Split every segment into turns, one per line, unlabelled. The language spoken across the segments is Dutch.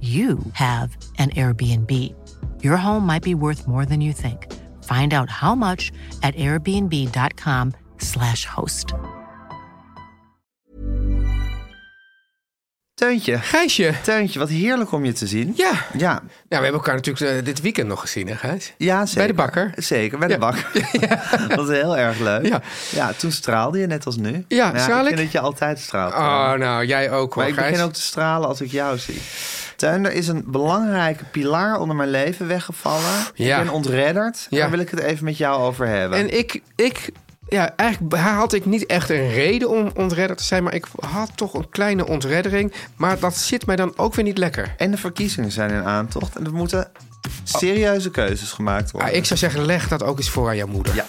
you have an Airbnb. Your home might be worth more than you think. Find out how much at airbnb.com/slash host.
Teuntje.
Gijsje.
Teuntje, wat heerlijk om je te zien.
Ja.
Ja,
Nou, we hebben elkaar natuurlijk eh, dit weekend nog gezien, hè Gijs?
ja zeker.
Bij de bakker.
Zeker, bij de
Ja.
bakker. Dat was heel erg leuk.
Ja.
ja, toen straalde je net als nu.
Ja, straal
ik
ik?
vind dat je altijd straalt.
Oh, nou, jij ook hoor,
maar ik
Gijs.
begin ook te stralen als ik jou zie. Teun, er is een belangrijke pilaar onder mijn leven weggevallen.
Ja.
Ik ben ontredderd.
Ja.
Daar wil ik het even met jou over hebben.
En ik, ik, ja, eigenlijk had ik niet echt een reden om ontredder te zijn, maar ik had toch een kleine ontreddering. Maar dat zit mij dan ook weer niet lekker.
En de verkiezingen zijn in aantocht. En er moeten serieuze keuzes gemaakt worden.
Ah, ik zou zeggen, leg dat ook eens voor aan jouw moeder.
Ja.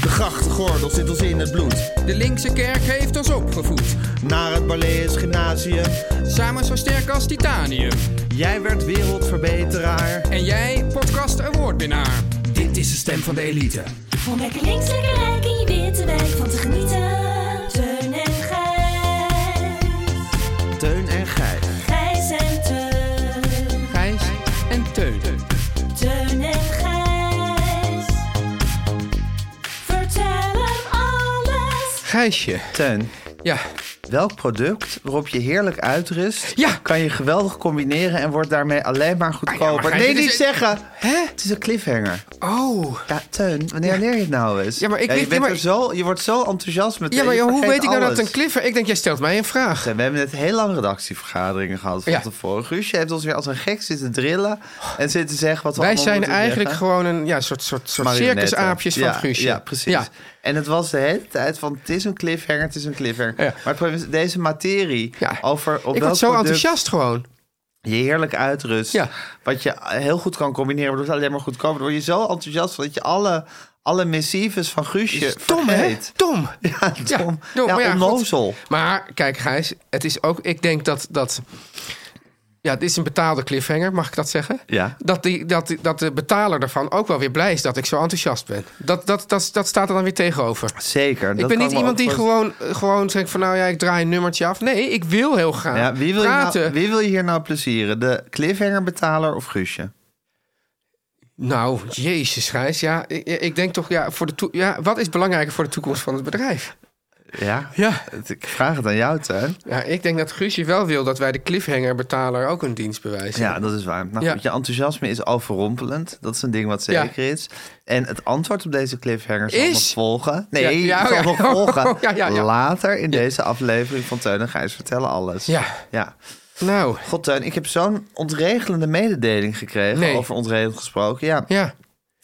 De grachtgordel zit ons in het bloed.
De linkse kerk heeft ons opgevoed.
Naar het Balees Gymnasium.
Samen zo sterk als titanium.
Jij werd wereldverbeteraar.
En jij, podcast awardwinnaar. Dit is de stem van de elite.
Om lekker links, lekker rijk in je witte wijk van te genieten. Teun en Gijs.
Teun en Gijs.
Gijs en Teun.
Gijs en Teun.
Teun en Gijs. Vertel hem alles.
Gijsje.
Teun,
Ja.
welk product waarop je heerlijk uitrust...
Ja. Ah
kan je geweldig combineren en wordt daarmee alleen maar goedkoper?
maar Gijs,
nee,
dit is
niet
een-
zeggen!
Hè?
Het is een cliffhanger.
Oh.
Ja, Teun, wanneer leer je het nou eens?
Ja, maar ik
je,
weet-
bent
ja, maar-
er zo, je wordt zo enthousiast meteen.
Ja, maar
je
joh, hoe
vergeet
weet ik nou dat
alles.
het een cliffhanger... Ik denk, jij stelt mij een vraag.
We hebben net heel lang redactievergaderingen gehad van
Ja.
tevoren. Guusje heeft ons weer als een gek zitten drillen en zitten zeggen wat we
Wij
allemaal
zijn
moeten
eigenlijk
zeggen.
gewoon een ja, soort, soort, soort
Marionetten.
circusaapjes
ja,
van Guusje.
Ja, precies.
Ja.
En het was de hele tijd van, het is een cliffhanger, het is een cliffhanger.
Ja.
Maar het probleem is, deze materie
Ja.
over op
ik
welk
word zo
product
enthousiast gewoon.
je heerlijk uitrust,
Ja.
wat je heel goed kan combineren, waardoor het alleen maar goedkoper wordt. Dan word je zo enthousiast van dat je alle, alle missives van Guusje
Tom, hè?
Eh, vergeet.
Tom.
Ja, dom.
dom,
Ja,
maar goed.
onnozel.
Maar kijk, Gijs, het is ook. Ik denk dat dat. Ja, het is een betaalde cliffhanger, mag ik dat zeggen?
Ja.
Dat, die, dat, die- dat de betaler daarvan ook wel weer blij is dat ik zo enthousiast ben. Dat, dat, dat, dat staat er dan weer tegenover.
Zeker.
ik ben niet iemand die gewoon, gewoon zegt van nou ja, ik draai een nummertje af. Nee, ik wil heel graag
Ja, wie, wil je
praten.
nou, wie wil je hier nou plezieren? De cliffhangerbetaler of Guusje?
Nou, jezus Gijs, ja, ik, ik denk toch, ja, voor de toe- ja, wat is belangrijker voor de toekomst van het bedrijf?
Ja?
Ja.
Het- Ik vraag het aan jou, Tuin.
Ja, ik denk dat Guusje wel wil dat wij de cliffhangerbetaler ook een dienst bewijzen.
Ja, dat is waar. Nou
Ja.
goed, je enthousiasme is overrompelend. Dat is een ding wat
Ja.
zeker is. En het antwoord op deze cliffhanger zal
Is-
nog volgen. Nee,
Ja, ja,
het zal
ja.
nog volgen.
Ja, ja, ja.
Later in deze aflevering van Teun en Gijs vertellen alles.
Ja.
ja.
Nou,
God, Teun, ik heb zo'n ontregelende mededeling gekregen.
Nee.
Over ontregelend gesproken. Ja.
ja.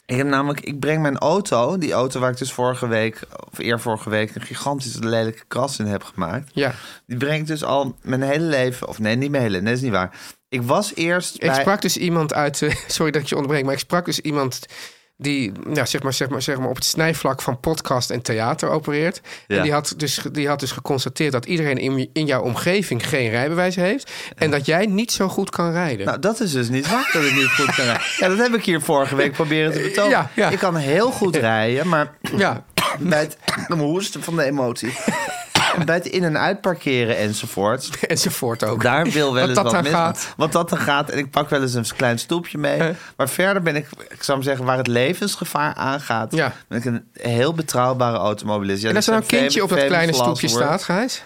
Ik heb namelijk, ik breng mijn auto, die auto waar ik dus vorige week, of eer vorige week, een gigantische lelijke kras in heb gemaakt.
Ja.
Die breng ik dus al mijn hele leven, of nee, niet mijn hele, nee, dat is niet waar. Ik was eerst
Ik
bij...
sprak dus iemand uit. eh, sorry dat ik je onderbreek, maar ik sprak dus iemand die ja, zeg maar, zeg maar, zeg maar op het snijvlak van podcast en theater opereert.
Ja.
En die had, dus, die had dus geconstateerd dat iedereen in, in jouw omgeving geen rijbewijs heeft. En dat jij niet zo goed kan rijden.
Nou, dat is dus niet waar dat ik niet goed kan rijden. Ja, dat heb ik hier vorige week proberen te betonen.
Eh, Ja, ja.
Ik kan heel goed rijden, maar
ja.
bij het mijn hoesten van de emotie, bij het in- en uitparkeren enzovoort...
Enzovoort ook.
Daar wil wel
Wat
eens
dat
wat
dan
mis.
gaat.
Wat dat dan gaat. En ik pak wel eens een klein stoepje mee.
Eh.
Maar verder ben ik, ik zou maar zeggen, waar het levensgevaar aangaat...
Ja.
ben ik een heel betrouwbare automobilist. Ja,
En als er
dit
nou een
zijn
kindje op dat
famous
kleine
last
stoepje
words.
staat, Gijs.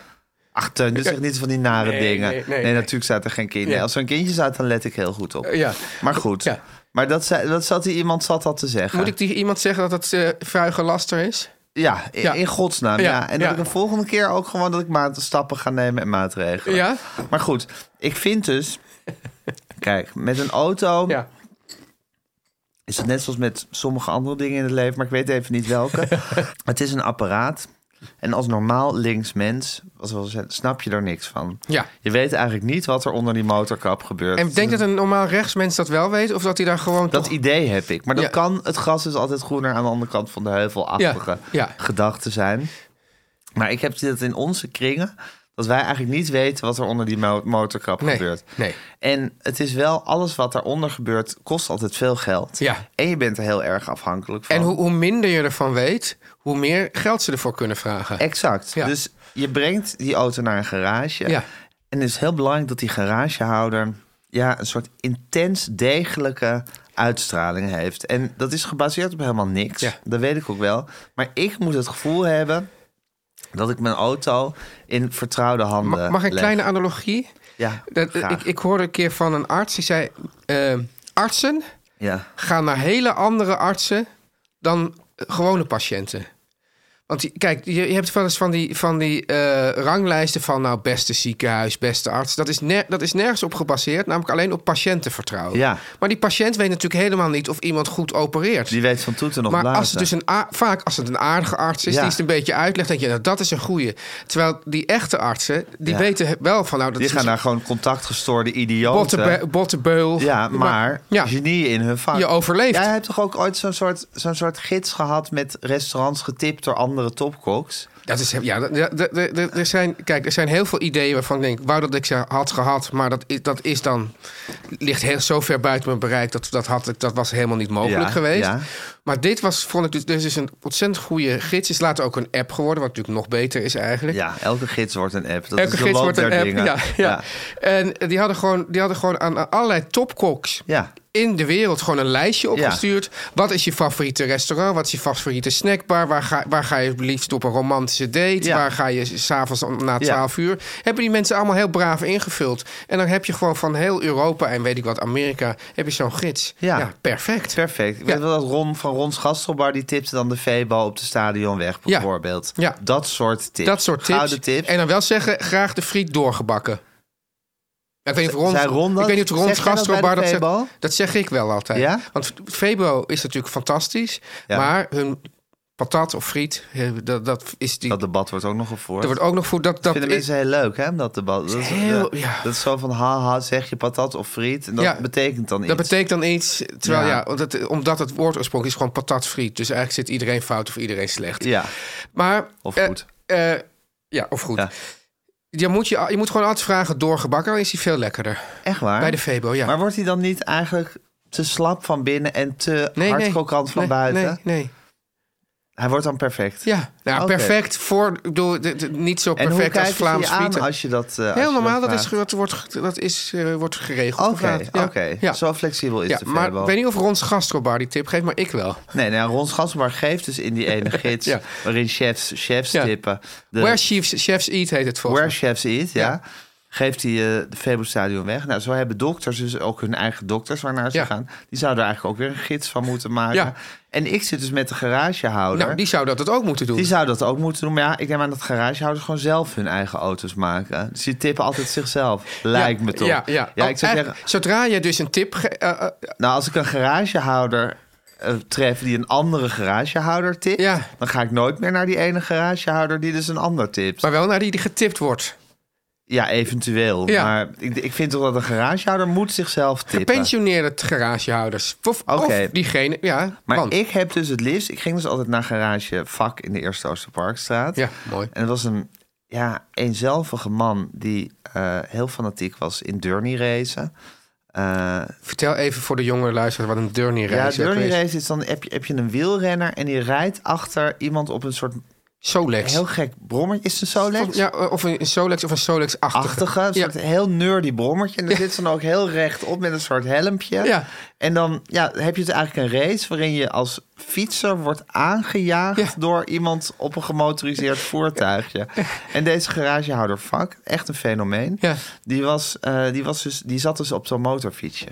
Ach, Teun, dus echt niet van die nare
Nee,
dingen.
nee,
Nee,
nee, nee.
natuurlijk zaten er geen kinderen.
Ja.
Als er een kindje zat, dan let ik heel goed op.
Eh, ja.
Maar goed.
Ja.
Maar dat, zei, dat zat die iemand zat dat te zeggen.
Moet ik tegen iemand zeggen dat het eh vuige laster is?
Ja, in,
Ja.
in godsnaam.
Ja,
Ja. En dat
ja.
ik de volgende keer ook gewoon dat ik maat, stappen ga nemen en maatregelen.
Ja.
Maar goed, ik vind dus... kijk, met een auto
Ja.
is het net zoals met sommige andere dingen in het leven... maar ik weet even niet welke. het is een apparaat. En als normaal links mens, wat we al zeiden, snap je er niks van.
Ja.
Je weet eigenlijk niet wat er onder die motorkap gebeurt.
En denk dat eh, een normaal rechtsmens dat wel weet? Of dat hij daar gewoon...
Dat
toch-
idee heb ik. Maar dat
Ja.
kan, het gras is altijd groener aan de andere kant van de heuvelachtige
Ja, ja.
gedachten zijn. Maar ik heb dit in onze kringen, dat wij eigenlijk niet weten wat er onder die mo- motorkap
Nee,
gebeurt.
nee.
En het is wel, alles wat daaronder gebeurt, kost altijd veel geld.
Ja.
En je bent er heel erg afhankelijk van.
En hoe, hoe minder je ervan weet, hoe meer geld ze ervoor kunnen vragen.
Exact.
Ja.
Dus je brengt die auto naar een garage.
Ja.
En het is heel belangrijk dat die garagehouder ja, een soort intens degelijke uitstraling heeft. En dat is gebaseerd op helemaal niks.
Ja.
Dat weet ik ook wel. Maar ik moet het gevoel hebben dat ik mijn auto in vertrouwde handen
Ma- mag ik een
eh, leg.
kleine analogie?
Ja,
Dat,
graag.
ik, ik hoorde een keer van een arts die zei: eh, Artsen
Ja.
gaan naar hele andere artsen dan eh, gewone patiënten. Want die- kijk, je, je hebt wel eens van die, van die eh, ranglijsten van nou beste ziekenhuis, beste arts. Dat is, ner- dat is nergens op gebaseerd, namelijk alleen op patiëntenvertrouwen.
Ja.
Maar die patiënt weet natuurlijk helemaal niet of iemand goed opereert.
Die weet van toeten nog
Maar
blazen.
als het dus een a- vaak als het een aardige arts is,
Ja.
die het een beetje uitlegt, denk je, nou, dat is een goeie. Terwijl die echte artsen, die
Ja.
weten he- wel van, nou, dat
Die
is
gaan
een
naar gewoon contactgestoorde idioten.
botte, bottenbeul.
Ja, maar
ja,
genie in hun vak.
Je overleeft.
Jij hebt toch ook ooit zo'n soort, zo'n soort gids gehad... met restaurants getipt door andere topkoks?
dat is, ja, dat- ja, dat- dat- dat- er zijn, kijk, er zijn heel veel ideeën waarvan ik denk, wou dat ik ze had gehad, maar dat is, dat is dan, ligt heel zo ver buiten mijn bereik, dat, dat, had, ik- dat was helemaal niet mogelijk
Ja,
geweest.
ja.
Maar dit was, vond ik, dus, dus is een ontzettend goede gids. Is later ook een app geworden, wat natuurlijk nog beter is eigenlijk.
Ja, elke gids wordt een app. Dat
Elke
is de
gids
loop
wordt een
der
app.
dingen.
Ja, ja. En eh, die hadden gewoon, die hadden gewoon aan aan allerlei topkoks
Ja.
in de wereld gewoon een lijstje opgestuurd. Wat is je favoriete restaurant? Wat is je favoriete snackbar? Waar ga, waar ga je het liefst op een romantische date?
Ja.
Waar ga je s'avonds na 12 uur? Hebben die mensen allemaal heel braaf ingevuld. En dan heb je gewoon van heel Europa en weet ik wat, Amerika, heb je zo'n gids. Ja,
Ja.
perfect.
Perfect. Ik
Ja.
weet wel dat Ron van Rons Gastelbar... die tipte dan de veebal op de stadionweg
Ja.
bijvoorbeeld.
Ja.
Dat soort tips.
Dat soort tips.
Gouden tips.
En dan wel zeggen, graag de friet doorgebakken. Ik weet niet of Ron,
Zei Ron dat?
ik weet niet of Ron
Zegt hij dat
Gastrobar
bij de
dat zegt.
Febo?
Dat zeg ik wel altijd.
Ja?
Want Febo is natuurlijk fantastisch.
Ja.
Maar hun patat of friet, eh, dat, dat is die...
Dat
Dat,
debat wordt ook nog gevoerd.
wordt ook nog voor... Dat, dat
vinden
is,
mensen heel leuk, hè? om Dat debat. Dat is,
heel-
ja,
ja.
dat is zo van, haha, zeg je patat of friet? En dat
Ja.
betekent dan iets.
dat betekent dan iets, terwijl ja,
Ja.
omdat, omdat het woord oorspronkelijk is gewoon patat friet. Dus eigenlijk zit iedereen fout of iedereen slecht.
Ja,
Maar,
Of
eh,
goed.
eh, ja, of goed.
Ja.
Je, moet je, je moet gewoon altijd vragen, doorgebakken, dan is hij veel lekkerder.
echt waar.
Bij de Febo, ja.
Maar wordt hij dan niet eigenlijk te slap van binnen en te hardkrokant van
Nee,
buiten?
Nee, nee.
Hij wordt dan perfect.
Ja, nou,
Oké.
perfect voor, ik bedoel, de- de- niet zo
En hoe
perfect als
kijk je
Vlaams
je aan
frieten.
als je dat eh, als je
Heel normaal, dat, is,
vraagt?
dat, wordt, ge- dat is, eh, wordt geregeld.
Oké,
inderdaad.
oké.
Ja, Ja.
Zo flexibel is dus
Ja,
de
maar
maar
ik weet niet of Rons gastrobar die tip geeft, maar ik wel.
Nee, nou, Ron Schassenbar geeft dus in die ene gids...
Ja.
waarin chefs, chefs
Ja.
tippen... De,
Where chefs, chefs eat heet het volgens
where
mij.
chefs eat, ja...
Ja.
geeft hij eh, de Febo-stadion weg. Nou, zo hebben dokters dus ook hun eigen dokters waarnaar ze
Ja.
gaan. Die zouden er eigenlijk ook weer een gids van moeten maken.
Ja.
En ik zit dus met de garagehouder...
Nou, die zou dat het ook moeten doen.
Die zou dat ook moeten doen. Maar ja, ik neem aan dat garagehouders gewoon zelf hun eigen auto's maken. Dus die tippen altijd zichzelf. Lijkt me toch.
Ja, ja. Oh,
ja
Al-
ik zou zeggen,
eigenlijk, Zodra je dus een tip... ge- eh, eh,
nou, als ik een garagehouder eh, tref die een andere garagehouder tipt...
Ja.
dan ga ik nooit meer naar die ene garagehouder die dus een ander tipt.
maar wel naar die die getipt wordt.
ja, eventueel.
Ja.
Maar ik, ik vind toch dat een garagehouder moet zichzelf tippen.
Gepensioneerde garagehouders. Of, of
Oké.
diegene, ja.
Maar
want-
ik heb dus het liefst... Ik ging dus altijd naar garage Vak in de Eerste Oosterparkstraat.
Ja, mooi.
En dat was een ja, eenzelvige man die eh, heel fanatiek was in Durny racen. Eh,
Vertel even voor de jongere luisteraars wat een journey
ja,
race
Durny race is dan heb je, heb je een wielrenner... en die rijdt achter iemand op een soort
Solex.
Heel gek brommertje. Is het een Solex?
Ja, of een Solex of een Solex-achtige.
Achtige, een
Ja.
soort heel nerdy brommertje. En dan zit ze dan ook heel rechtop met een soort helmpje.
Ja.
En dan ja, heb je dus eigenlijk een race waarin je als fietser wordt aangejaagd
Ja.
door iemand op een gemotoriseerd voertuigje. En deze garagehouder vak, echt een fenomeen.
Ja.
Die, was, eh, die, was dus, die zat dus op zo'n motorfietsje.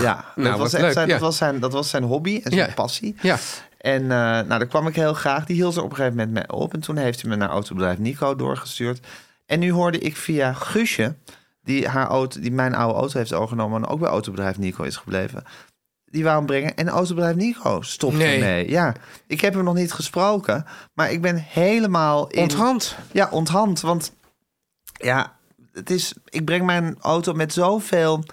ja,
nou,
dat, was
wat
echt
leuk,
zijn,
ja.
dat, was zijn, dat was zijn hobby en zijn
Ja.
passie.
Ja.
En eh, nou, daar kwam ik heel graag. Die hield er op een gegeven moment mee op. En toen heeft hij me naar autobedrijf Nico doorgestuurd. En nu hoorde ik via Guusje, die, haar auto, die mijn oude auto heeft overgenomen... en ook bij autobedrijf Nico is gebleven... die wou hem brengen. En autobedrijf Nico stopte
Nee.
mee. Ja, ik heb hem nog niet gesproken. Maar ik ben helemaal in...
Onthand.
Ja, onthand. Want ja, het is, ik breng mijn auto met zoveel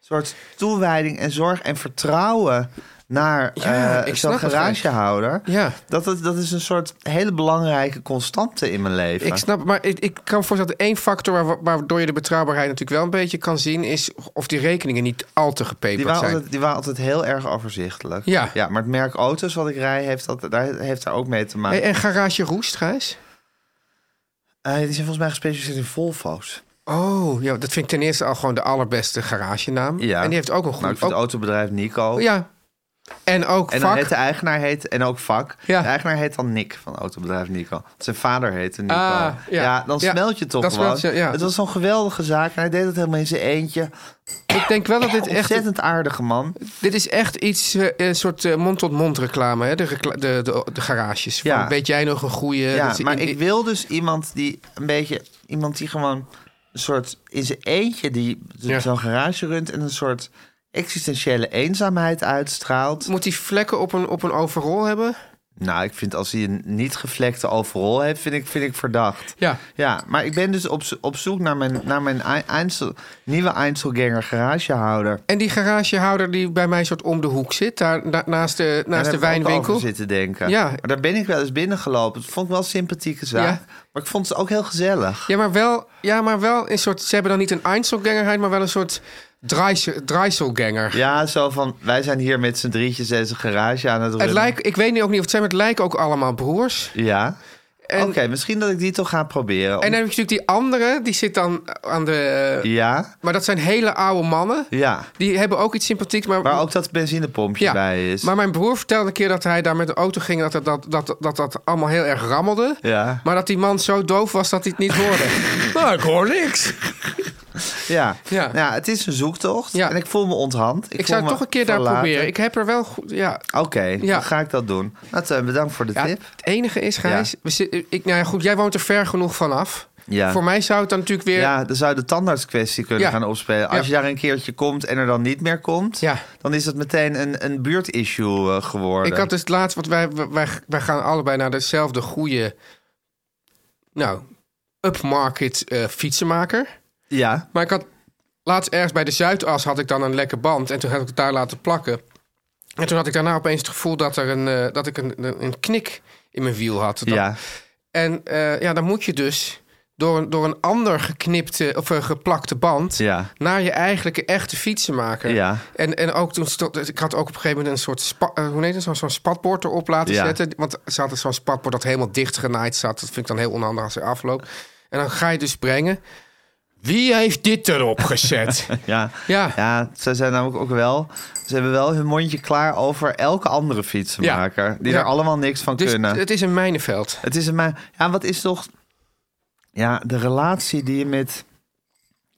soort toewijding en zorg en vertrouwen naar
Ja,
eh, zo'n
ik snap het
garagehouder.
Ja.
Dat, het, dat is een soort hele belangrijke constante in mijn leven.
Ik snap, maar ik, ik kan me voorstellen dat één factor waar- waardoor je de betrouwbaarheid natuurlijk wel een beetje kan zien, is of die rekeningen niet al te
die
gepeperd
waren,
zijn.
altijd, die waren altijd heel erg overzichtelijk.
Ja.
maar het merk auto's wat ik rij, heeft, dat, daar, heeft daar ook mee te maken.
Hey, en Garage Roest, Gijs?
Eh, die zijn volgens mij gespecialiseerd in Volvo's.
Oh, ja, dat vind ik ten eerste al gewoon de allerbeste garagenaam.
Ja.
En die heeft ook een
Nou, ik
goed...
vind
ook- Oh
het autobedrijf Nico.
ja. En ook
En dan
vak.
heet de eigenaar heet, en ook vak.
Ja.
De eigenaar heet dan Nick van autobedrijf Nico. Zijn vader heette Nico.
Ah,
ja.
ja.
dan
Ja,
smelt je toch
dat
gewoon.
smelt je, ja.
Het was zo'n geweldige zaak. En hij deed het helemaal in zijn eentje.
Ik denk wel dat dit echt...
Ontzettend aardige man.
Dit is echt iets, eh, een soort eh, mond-tot-mond reclame, hè? De, recla- de, de, de garages. Van,
Ja.
weet jij nog een goede...
Ja,
dat ze
maar
in-
ik wil dus iemand die een beetje... Iemand die gewoon een soort in zijn eentje die
Ja.
zo'n garage runt... en een soort existentiële eenzaamheid uitstraalt.
Moet die vlekken op een, op een overall hebben?
Nou, ik vind als hij een niet gevlekte overall heeft, vind ik, vind ik verdacht.
Ja.
Ja, maar ik ben dus op, zo- op zoek naar mijn, naar mijn ei- Einzel, nieuwe Einzelganger garagehouder.
En die garagehouder die bij mij soort om de hoek zit, daar, na- naast de,
Daar
naast
heb
de
ik ook
wijnwinkel.
over zitten denken.
Ja.
Maar daar ben ik wel eens binnengelopen. Het vond ik wel een sympathieke zaak.
Ja.
Maar ik vond ze ook heel gezellig.
Ja, maar wel, ja, maar wel een soort. Ze hebben dan niet een Einzelgangerheid, maar wel een soort Dreisel- Dreiselganger.
Ja, zo van, wij zijn hier met z'n drietjes deze garage aan het runnen.
Het lijkt, ik weet niet ook niet of het zijn, maar het lijken ook allemaal broers.
Ja.
En-
Oké, misschien dat ik die toch ga proberen.
En dan heb je natuurlijk die andere, die zit dan aan de.
Ja,
Maar dat zijn hele oude mannen.
ja.
Die hebben ook iets sympathieks, maar.
Waar ook dat benzinepompje
ja.
bij is.
Maar mijn broer vertelde een keer dat hij daar met de auto ging, dat dat, dat, dat, dat, dat allemaal heel erg rammelde.
Ja.
Maar dat die man zo doof was dat hij het niet hoorde. nou, ik hoor niks.
Ja.
Ja.
Nou, het is een zoektocht.
Ja.
En ik voel me onthand.
Ik, zou
voel me
toch een keer daar
verlaten.
proberen. Ik heb er wel goed. Ja.
Oké,
Ja.
dan ga ik dat doen. Nou, Teun, bedankt voor de
Ja,
tip.
het enige is, Gijs, we zit- ik, nou ja, goed, jij woont er ver genoeg vanaf.
Ja.
Voor mij zou het dan natuurlijk weer...
Ja, dan zou je de tandartskwestie kunnen
Ja.
gaan opspelen. Als
Ja.
je daar een keertje komt en er dan niet meer komt...
Ja.
dan is het meteen een, een buurtissue eh, geworden.
ik had dus het laatst, want wij, wij, wij gaan allebei naar dezelfde goede, nou, upmarket eh, fietsenmaker.
Ja,
Maar ik had laatst ergens bij de Zuidas had ik dan een lekker band en toen heb ik het daar laten plakken. En toen had ik daarna opeens het gevoel dat, er een, eh, dat ik een, een knik in mijn wiel had. Dat-
ja.
En eh, ja, dan moet je dus door een, door een ander geknipte of eh, geplakte band
Ja.
naar je eigenlijke echte fietsenmaker.
Ja.
En, en ook toen stond, ik had ook op een gegeven moment een soort spa- eh, hoe heet het, zo'n zo'n spatbord erop laten
Ja.
zetten. Want ze hadden zo'n spatbord dat helemaal dicht genaaid zat. Dat vind ik dan heel onhandig als hij afloopt. En dan ga je dus brengen. Wie heeft dit erop gezet?
Ja.
Ja.
ja, ze zijn namelijk ook wel... Ze hebben wel hun mondje klaar over elke andere fietsenmaker... die
Ja.
er allemaal niks van
dus
kunnen.
het is een mijnenveld.
Het is een mij. Ja, wat is toch. Ja, de relatie die je met.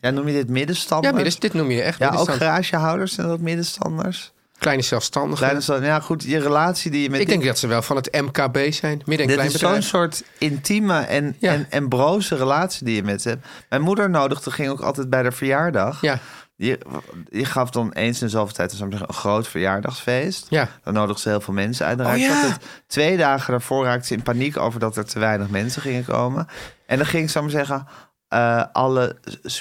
Ja, noem je dit middenstanders?
Ja, maar dus dit noem je echt.
Ja,
dit is
ook
dan
garagehouders zijn dat middenstanders.
kleine zelfstandigen.
Kleine stand- ja, goed, je relatie die je met.
ik denk dat ze wel van het MKB zijn. Midden-
dit
en klein
is zo'n
bedrijf.
soort intieme en,
Ja.
en, en broze relatie die je met ze hebt. Mijn moeder nodigde ging ook altijd bij de verjaardag.
Ja.
Die, die gaf dan eens in zoveel tijd dus laten we zeggen, een groot verjaardagsfeest.
Ja.
Dan nodigde ze heel veel mensen uit. Dan
Oh,
raakte
ja.
altijd- twee dagen daarvoor raakte ze in paniek over dat er te weinig mensen gingen komen. En dan ging ik, zou ik maar zeggen, eh, alle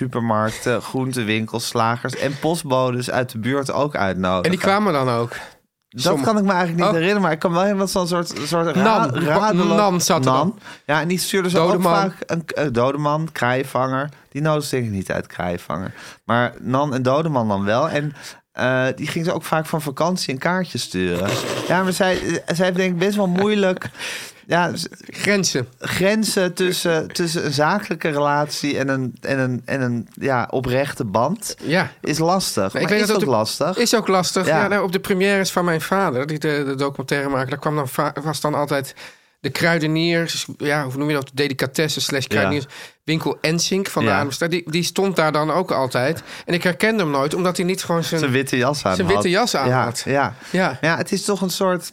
supermarkten, groentewinkels, slagers en postbodes uit de buurt ook uitnodigen.
En die kwamen dan ook.
Dat kan ik me eigenlijk niet
Oh.
herinneren, maar ik kan wel helemaal zo'n soort, soort
Nan.
radelen.
Nan zat er dan.
Ja, en die stuurde ze ook
Dodeman.
vaak een eh, dodeman, kraaienvanger. Die nodig denk ik niet uit kraaienvanger. Maar Nan en dodeman dan wel. En eh, die ging ze ook vaak van vakantie een kaartje sturen. Ja, maar zij, eh, zij heeft denk ik best wel moeilijk ja, z-
Grenzen.
grenzen tussen, tussen een zakelijke relatie en een, en een, en een ja, oprechte band
Ja.
is lastig.
Ik
Maar
weet
is
dat
ook
op de-
lastig.
Is ook lastig. Ja.
Ja.
nou, op de premières van mijn vader, die de, de documentaire maakte, daar kwam dan va- was dan altijd de kruideniers, ja, hoe noem je dat? Delicatessen slash kruideniers. Winkel Ensink van de
Ja.
Ademstraat, die, die stond daar dan ook altijd. En ik herkende hem nooit, omdat hij niet gewoon
Zijn
zijn...
witte jas aan
zijn
had.
witte jas aan
ja,
had.
Ja.
Ja.
ja, het is toch een soort...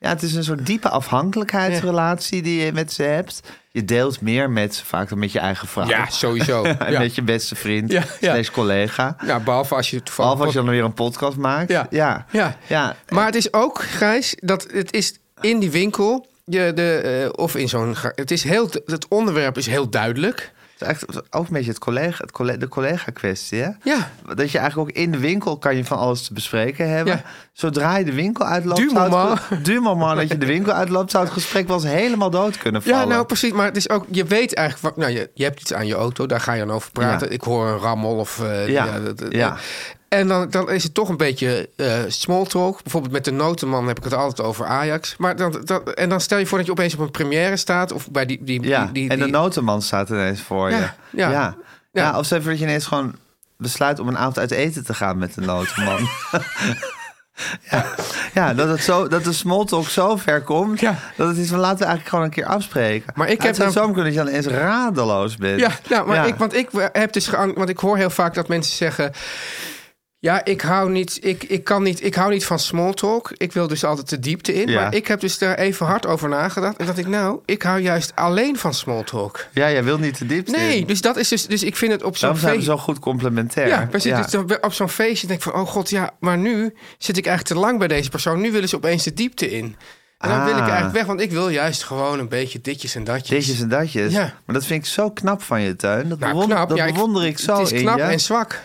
Ja, het is een soort diepe afhankelijkheidsrelatie die je met ze hebt. Je deelt meer met ze vaak dan met je eigen vrouw.
Ja, sowieso.
En
ja.
met je beste vriend,
Ja, ja.
slash collega.
Ja, behalve als je toevallig...
Behalve als je dan weer een podcast maakt.
Ja.
Ja.
Ja.
Ja.
Maar het is ook, Gijs, dat het is in die winkel... Je, de, eh, of in zo'n... ga- Het, is heel, het onderwerp is heel duidelijk.
Het is eigenlijk ook een beetje het collega, het colle- de collega-kwestie, hè?
Ja.
Dat je eigenlijk ook in de winkel kan je van alles te bespreken hebben.
Ja.
Zodra je de winkel uitloopt...
Du
zou het
moment.
ge- Du moment dat je de winkel uitloopt, zou het gesprek wel eens helemaal dood kunnen vallen.
Ja, nou precies. Maar het is ook, je weet eigenlijk, wat, nou, je, je hebt iets aan je auto, daar ga je dan over praten.
Ja.
Ik hoor een rammel of. eh,
Ja,
dat- dat-
ja.
En dan, dan is het toch een beetje eh small talk. Bijvoorbeeld met de notenman heb ik het altijd over Ajax. Maar dan, dan, en dan stel je voor dat je opeens op een première staat. Of bij die. die,
Ja,
die, die-
en de
die-
notenman staat ineens voor
Ja,
je. Ja,
ja. Ja.
ja. of stel je voor dat je ineens gewoon besluit om een avond uit eten te gaan met de notenman. ja. ja, dat het zo, dat de smalltalk zo ver komt,
Ja.
dat het is van laten we eigenlijk gewoon een keer afspreken.
Maar ik heb
het zou
nou-
zo kunnen dat je dan ineens radeloos bent.
Ja, nou, maar
Ja.
Ik, want ik heb dus geang- want ik hoor heel vaak dat mensen zeggen. Ja, ik hou niet, ik, ik kan niet, ik hou niet van small talk. Ik wil dus altijd de diepte in.
Ja.
Maar ik heb dus daar even hard over nagedacht. En dat ik, nou, ik hou juist alleen van small talk.
ja, jij wil niet te diep
Nee,
in.
dus dat is dus, dus ik vind het op zo'n
Daarom zijn we
feestje.
zo goed complementair.
ja, precies. Dus dan op zo'n feestje denk ik van, oh god, ja, maar nu zit ik eigenlijk te lang bij deze persoon. Nu willen ze opeens de diepte in. En dan wil ik
Ah.
eigenlijk weg, want ik wil juist gewoon een beetje ditjes en datjes.
Ditjes en datjes.
Ja.
Maar dat vind ik zo knap van je, Tuin. Dat,
Nou,
bewonder,
knap.
dat
ja,
bewonder ik, zo
Het is
in
knap
je.
en zwak.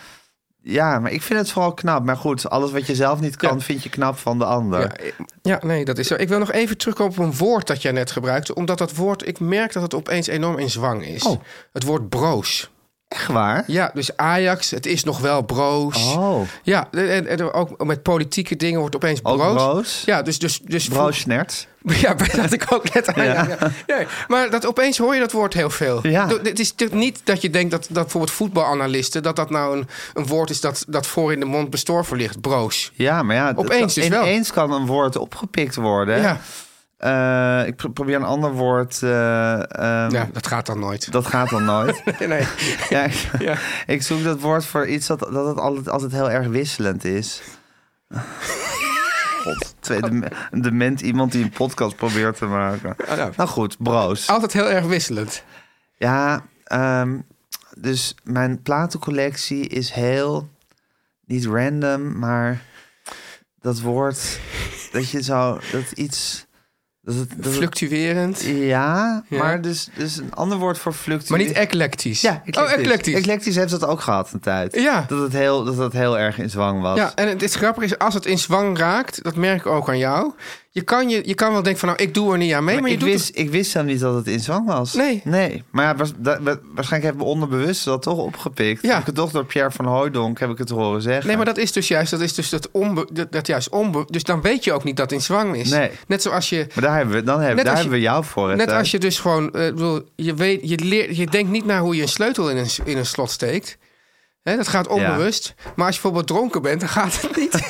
Ja, maar ik vind het vooral knap. Maar goed, alles wat je zelf niet kan, vind je knap van de ander.
Ja, eh, ja, nee, dat is zo. Ik wil nog even terugkomen op een woord dat jij net gebruikte. Omdat dat woord, ik merk dat het opeens enorm in zwang is.
Oh.
Het woord broos.
Echt waar?
Ja, dus Ajax, het is nog wel broos.
Oh,
Ja, en, en ook met politieke dingen wordt opeens
Ook
broos.
broos?
Ja, dus... dus, dus
bro snert.
Ja, maar dat ik ook net aan. Ja. ja. Nee, maar dat opeens hoor je dat woord heel veel.
Ja.
Do- Het is natuurlijk niet dat je denkt dat, dat bijvoorbeeld voetbalanalisten... dat dat nou een, een woord is dat, dat voor in de mond bestorven ligt. Broos.
Ja, maar ja,
Opeens dus wel.
ineens kan een woord opgepikt worden. hè?
Ja.
Eh, ik pro- probeer een ander woord. eh, ehm,
ja, dat gaat dan nooit.
Dat gaat dan nooit.
Nee, nee.
ja, ik,
Ja.
ik zoek dat woord voor iets dat, dat het altijd, altijd heel erg wisselend is. God, tweede, me- een dement iemand die een podcast probeert te maken.
nou.
Nou goed, broos.
Altijd heel erg wisselend.
Ja, ehm, dus mijn platencollectie is heel niet random, maar dat woord dat je zo dat iets dat het, dat het-
Fluctuerend.
ja,
Ja.
maar dus, dus een ander woord voor fluctuatie.
Maar niet eclectisch.
ja, eclectisch.
Oh, eclectisch.
Eclectisch heeft dat ook gehad een tijd.
Ja.
Dat het heel dat dat heel erg in zwang was.
Ja, en het is grappig is, als het in zwang raakt, dat merk ik ook aan jou. Je kan, je, je kan wel denken van, nou, ik doe er niet aan mee, maar,
Maar
je
ik,
doet
wist, ik wist hem niet dat het in zwang was.
Nee.
Nee. Maar ja, waars- da- wa- waarschijnlijk hebben we onderbewust dat toch opgepikt.
Ja.
Heb ik het toch door Pierre van Hooijdonk heb ik het horen zeggen.
Nee, maar dat is dus juist, dat is dus dat onbe, dat, dat juist onbe, dus dan weet je ook niet dat het in zwang is.
Nee.
Net zoals je,
Maar daar hebben we, dan hebben,
Net
daar
als je-
hebben we jou voor. hè,
net
Thijs.
als je dus gewoon, eh, ik bedoel, je weet, je leert, je denkt niet naar hoe je een sleutel in een, s- in een slot steekt. Hè, dat gaat onbewust. Maar als je bijvoorbeeld dronken bent, dan gaat het niet.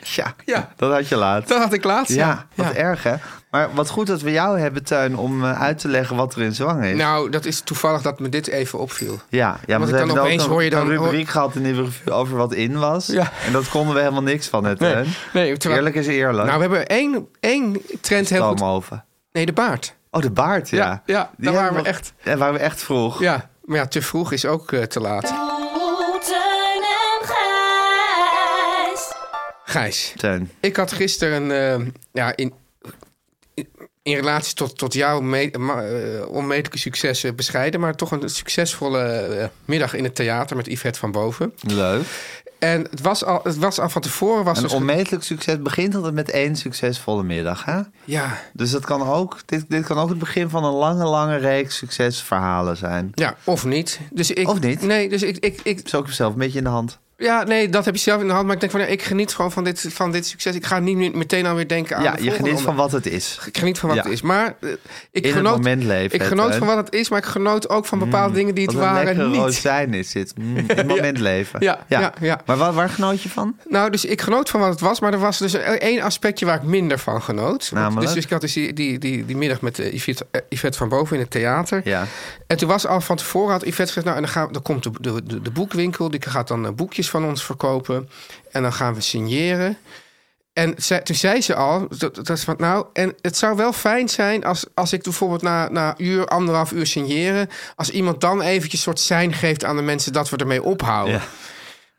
Ja,
Ja.
dat had je laat.
dat had ik laatst.
ja, wat erg hè. Maar wat goed dat we jou hebben, Tuin, om eh, uit te leggen wat er in zwang is.
Nou, dat is toevallig dat me dit even opviel.
ja, ja,
want
want
ik
we
kan
hebben
opeens
ook een,
hoor je dan- oh.
een rubriek gehad in die revue over wat in was.
Ja.
En dat konden we helemaal niks van, het Tuin.
nee, terwijl-
Eerlijk is eerlijk.
Nou, we hebben één, één trend heel goed.
Stoomhoven.
Nee, de baard.
Oh, de baard, ja.
Ja, ja,
Die
daar waren
hebben
we echt-
Daar waren we echt vroeg.
Ja, maar ja, te vroeg is ook eh, te laat.
Oh, Teun en Gijs.
Gijs,
Teun.
ik had gisteren, eh, ja, in, in, in relatie tot, tot jouw me- ma- eh, onmetelijke successen bescheiden, maar toch een succesvolle eh, middag in het theater met Yvette van Boven.
Leuk.
En het was al, het was al van tevoren. Was
Een
dus ge-
onmetelijk succes begint altijd met één succesvolle middag, hè?
ja,
Dus dat kan ook, dit, dit kan ook het begin van een lange, lange reeks succesverhalen zijn.
ja, of niet. Dus ik,
Of niet?
Nee, dus ik, ik, ik,
Zo ook zelf een beetje in de hand.
Ja, nee, dat heb je zelf in de hand. Maar ik denk van, ja, ik geniet gewoon van dit, van dit succes. Ik ga niet meer- meteen alweer denken aan
ja,
de
je
volgende
geniet van
onder-
wat het is.
Ik geniet van wat
Ja.
het is. Maar eh, ik,
In het
genoot,
moment leven,
ik genoot
hè? Mm,
van wat het is, maar ik genoot ook van bepaalde dingen die het
Wat een lekkere
waren niet.
rozijn is dit. Mm, in het moment leven.
Ja, ja, ja.
Maar waar, waar genoot je van?
Nou, dus ik genoot van wat het was, maar er was dus een- één aspectje waar ik minder van genoot. Want-
Namelijk?
Dus, dus ik had dus die, die, die, die middag met eh, Yvette, eh, Yvette van Boven in het theater.
Ja.
En toen was al van tevoren, had Yvette gezegd, nou, en dan, gaan, we- dan komt de, de, de, de boekwinkel, die gaat dan eh, boekjes van ons verkopen. En dan gaan we signeren. En ze- toen zei ze al, dat, dat is wat nou, en het zou wel fijn zijn als, als ik bijvoorbeeld na, na een uur, anderhalf uur signeren, als iemand dan eventjes soort zijn geeft aan de mensen dat we ermee ophouden.
Ja.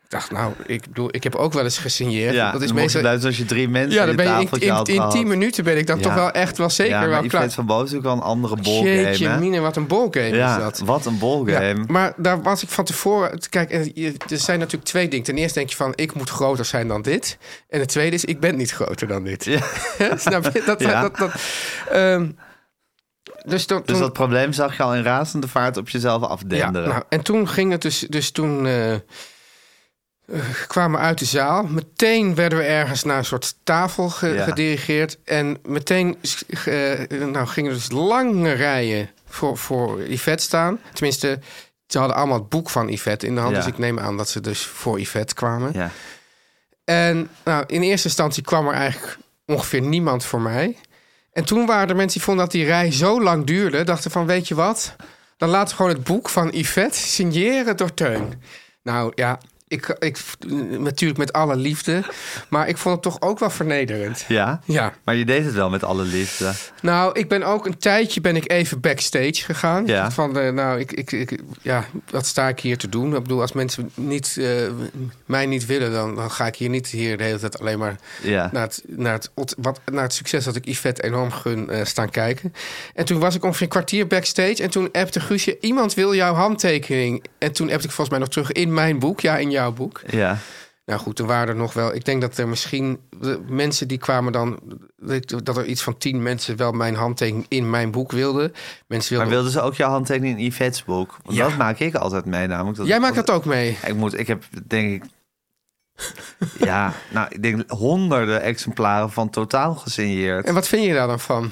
Ik dacht, nou, ik, bedoel, ik heb ook wel eens gesigneerd.
ja.
dat is
dan mocht je
meestal.
luisteren als je drie mensen
Ja,
aan
dan
je
ben je in,
tafeltje
in,
had
in
gehad.
tien minuten ben ik dan
Ja.
toch wel echt wel zeker
ja, maar
wel
Yvette
klaar.
van Boven is ook wel een andere ballgame.
Jeetje,
hè?
mine, wat een ballgame is
Ja,
dat.
wat een ballgame. Dus
Ja, maar daar was ik van tevoren. Kijk, eh, je- er zijn natuurlijk twee dingen. Ten eerste denk je van: ik moet groter zijn dan dit. En het tweede is: ik ben niet groter dan dit. Snap je? Dat,
Ja.
dat, dat, ehm, dus toen,
Dus
toen-
dat probleem zag je al in razende vaart op jezelf
ja,
afdenderen.
nou, en toen ging het dus. Dus toen eh, eh, kwamen we uit de zaal. Meteen werden we ergens naar een soort tafel ge-
Ja.
gedirigeerd. En meteen eh, nou, gingen er dus lange rijen voor, voor Yvette staan. Tenminste, ze hadden allemaal het boek van Yvette in de hand.
Ja.
Dus ik neem aan dat ze dus voor Yvette kwamen.
ja.
En nou, in eerste instantie kwam er eigenlijk ongeveer niemand voor mij. En toen waren er mensen die vonden dat die rij zo lang duurde. Dachten van, weet je wat? Dan laten we gewoon het boek van Yvette signeren door Teun. Nou ja, ik, ik, natuurlijk met alle liefde. Maar ik vond het toch ook wel vernederend.
Ja?
Ja.
Maar je deed het wel met alle liefde.
Nou, ik ben ook een tijdje ben ik even backstage gegaan.
Ja.
Van de, nou, ik, ik, ik, ja, wat sta ik hier te doen? Ik bedoel, als mensen niet, eh, mij niet willen, dan, dan ga ik hier niet hier de hele tijd alleen maar
Ja.
naar, het, naar, het, ot- wat, naar het succes dat ik Yvette enorm gun eh, staan kijken. En toen was ik ongeveer een kwartier backstage en toen appte Guusje, iemand wil jouw handtekening. En toen appte ik volgens mij nog terug in mijn boek, ja, in jouw boek.
Ja.
Nou goed, er waren er nog wel. Ik denk dat er misschien de mensen die kwamen dan. Dat er iets van tien mensen wel mijn handtekening in mijn boek wilden. Mensen
Maar
wilden.
wilden ze ook jouw handtekening in Yvette's boek? Want
Ja.
dat maak ik altijd mee namelijk. Dat
Jij
ik
maakt dat
altijd-
ook mee.
Ik moet, ik heb denk ik... ja, nou, ik denk honderden exemplaren van totaal gesigneerd.
En wat vind je daar dan van?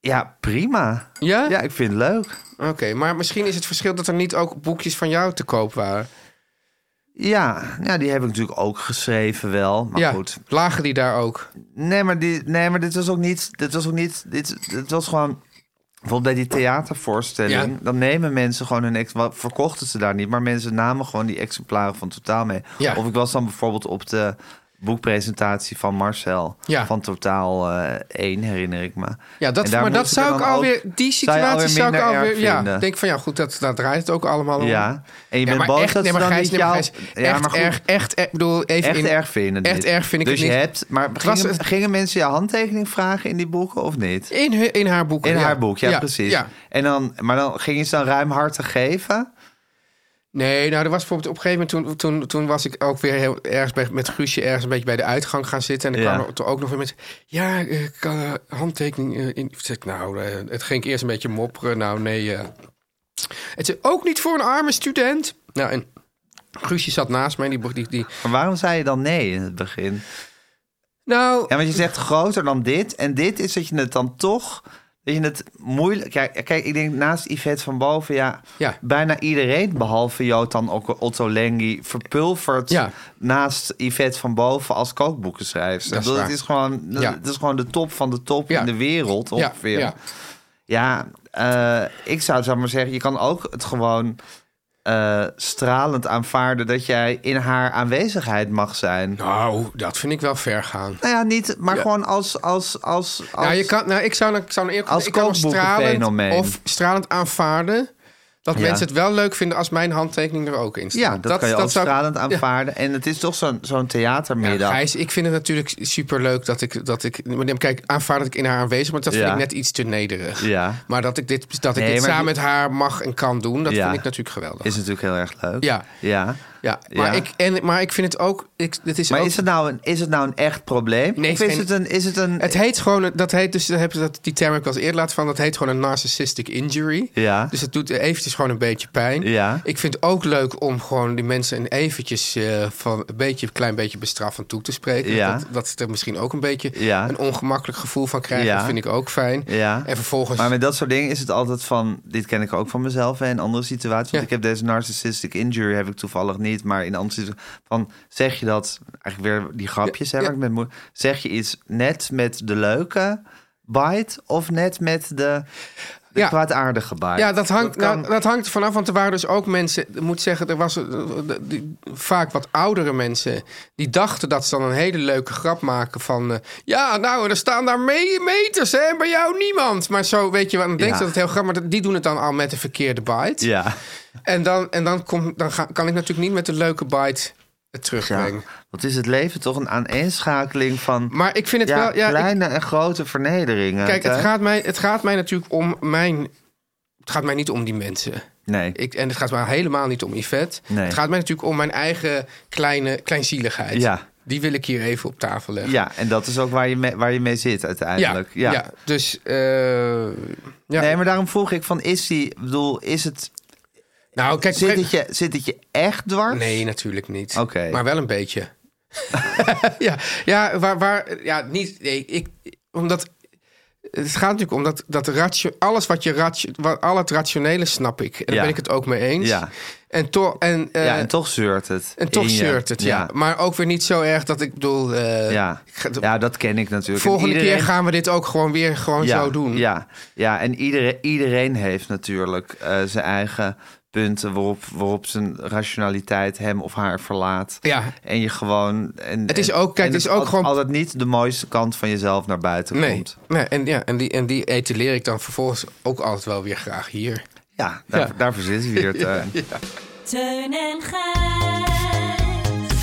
Ja, prima.
Ja?
Ja, ik vind het leuk.
Oké, maar misschien is het verschil dat er niet ook boekjes van jou te koop waren.
Ja, ja, die heb ik natuurlijk ook geschreven wel. Maar
ja,
goed.
lagen die daar ook?
Nee, maar, die, nee, maar dit was ook niet... Dit was ook niet... Dit, dit was gewoon... Bijvoorbeeld bij die theatervoorstelling,
Ja.
dan nemen mensen gewoon hun... ex- wat Verkochten ze daar niet, maar mensen namen gewoon die exemplaren van Totaal mee.
Ja.
Of ik was dan bijvoorbeeld op de boekpresentatie van Marcel
Ja.
van Totaal eh 1, herinner ik me.
Ja,
En
dat,
daar
maar dat
moest er
zou ik
dan ook-
alweer. Die
zou je
situatie
alweer
zou, ik
minder
alweer.
erg
Ja,
vinden.
denk van ja, goed, dat, dat draait het ook allemaal om.
Ja, en je
Ja,
bent
maar
boos
echt,
dat
nee,
ze
maar
dan
Gijs,
niet
nee, maar
jouw...
Gijs, echt, erg, echt, echt, ik bedoel, even
echt
in-
erg vinden.
Echt
dit.
erg vind ik
dus
het niet.
je hebt, maar
was
gingen,
het-
gingen mensen jouw handtekening vragen in die boeken of niet?
In, hu- in haar boek.
In haar boek, ja, precies.
ja.
En dan, maar dan gingen ze dan ruimhartig geven?
Nee, nou, er was bijvoorbeeld op een gegeven moment... toen, toen, toen was ik ook weer heel, ergens bij, met Guusje... ergens een beetje bij de uitgang gaan zitten. En dan
Ja.
kwamen er toen ook nog weer mensen... ja, eh, kan, eh, handtekening eh, in... Zeg ik, nou, eh, het ging ik eerst een beetje mopperen. Nou, nee. eh. Het is ook niet voor een arme student. Nou, en Guusje zat naast mij. Die, bo- die, die,
Maar waarom zei je dan nee in het begin?
nou,
Ja, want je zegt groter dan dit. En dit is dat je het dan toch... Dat je het moeilijk... Kijk, kijk ik denk naast Yvette van Boven... Ja,
Ja.
bijna iedereen, behalve Jotan Otto- Otto Lengi... verpulvert
Ja.
naast Yvette van Boven als kookboekenschrijfster.
Dat is
Ik bedoel,
waar.
het, is gewoon,
Ja.
het is gewoon de top van de top
Ja.
in de wereld
ja,
ongeveer.
ja.
Ja, eh, ik zou het maar zeggen, je kan ook het gewoon eh, stralend aanvaarden dat jij in haar aanwezigheid mag zijn. Nou,
Nou, dat vind ik wel ver gaan.
ja, niet, maar gewoon als. als, als, als
Nou, je kan, nou, ik zou, ik zou eerlijk
Als
ik kan wel stralend,
kookboekenfenomeen.
of stralend aanvaarden dat
Ja.
mensen het wel leuk vinden als mijn handtekening er ook in staat.
ja, dat, kan je ook
zou ik-
stralend
Ja.
aanvaarden. En het is toch zo'n zo'n
Ja,
theatermiddag.
Gijs, ik vind het natuurlijk superleuk dat ik... Dat ik maar dan- kijk, aanvaard dat ik in haar aanwezig ben, maar dat
Ja.
vind ik net iets te nederig.
Ja.
Maar dat ik dit, dat ik
Nee,
dit
maar
samen
die-
met haar mag en kan doen, dat
Ja.
vind ik natuurlijk geweldig.
Is natuurlijk heel erg leuk.
Ja.
ja.
Ja, maar,
Ja.
Ik, en, maar ik vind het ook... Ik, het, is
Maar
ook-
is het, nou een, is het nou een echt probleem?
Nee,
of
het
is
is
het een... Is het een
het heet gewoon... een- Dat heet, dus, daar heb je dat, die term heb ik al eens eerder laten van. Dat heet gewoon een narcissistic injury.
Ja.
Dus het doet eventjes gewoon een beetje pijn.
Ja.
Ik vind het ook leuk om gewoon die mensen een eventjes eh, van een beetje, een klein beetje bestraffend toe te spreken.
Ja.
Dat, dat ze er misschien ook een beetje
Ja.
een ongemakkelijk gevoel van krijgen.
Ja.
Dat vind ik ook fijn.
Ja.
En vervolgens...
Maar met dat soort dingen is het altijd van... Dit ken ik ook van mezelf hè, in andere situaties. Want
Ja.
ik heb deze narcissistic injury heb ik toevallig niet. Maar in andere situaties... Van, zeg je dat... Eigenlijk weer die grapjes. hè,
Ja.
waar ik met moe- zeg je iets net met de leuke bite... of net met de, de
Ja.
kwaadaardige bite?
Ja, dat hangt,
kan-
nou, dat hangt er vanaf. Want er waren dus ook mensen. Ik moet zeggen, er was eh, die- vaak wat oudere mensen. die dachten dat ze dan een hele leuke grap maken. van. eh, ja, nou, er staan daar me- meters, hè? en Bij jou niemand. Maar zo, weet je, wel, dan denk je
Ja.
dat het heel grappig Maar die doen het dan al met de verkeerde bite.
Ja.
En dan, en dan, kom, dan ga- kan ik natuurlijk niet met de leuke bite het
Ja.
terugbrengen.
Wat is het leven toch een aaneenschakeling van...
Maar ik vind het
ja,
wel. Ja, ik-
kleine en grote vernederingen.
kijk, het
hè?
gaat, mij, het gaat mij natuurlijk om mijn. Het gaat mij niet om die mensen.
Nee.
Ik, en het gaat mij helemaal niet om Yvette.
Nee.
Het gaat mij natuurlijk om mijn eigen kleine kleinzieligheid.
Ja.
Die wil ik hier even op tafel leggen.
Ja, en dat is ook waar je mee, waar je mee zit
ja,
uiteindelijk.
ja. Dus eh, ja.
Nee, maar daarom vroeg ik van, is die, ik bedoel, is het,
nou, kijk,
zit, het je, zit het je echt dwars?
Nee, natuurlijk niet.
Oké.
Maar wel een beetje. ja, ja, waar, waar, ja, niet. Nee, ik, omdat. Het gaat natuurlijk om dat, dat ratio, alles wat je ratio, wat, al het rationele snap ik. En daar
Ja.
ben ik het ook mee eens.
Ja.
En, toch en, eh,
ja, en toch zeurt het.
En toch
in je.
zeurt het, ja. Maar ook weer niet zo erg dat ik bedoel... eh,
Ja.
ik ga-
ja, dat ken ik natuurlijk. En
volgende
iedereen-
keer gaan we dit ook gewoon weer gewoon
ja,
zo doen.
Ja, ja en iedereen, iedereen heeft natuurlijk eh, zijn eigen punten waarop, waarop zijn rationaliteit hem of haar verlaat.
Ja.
En je gewoon... En,
Het is ook- kijk,
en
het is ook
al-
gewoon-
altijd niet de mooiste kant van jezelf naar buiten
Nee,
komt.
nee en, ja, en, die, en die etaleer ik dan vervolgens ook altijd wel weer graag hier.
Ja, daar,
Ja.
daarvoor zitten we hier, Teun.
Teun en Gijs.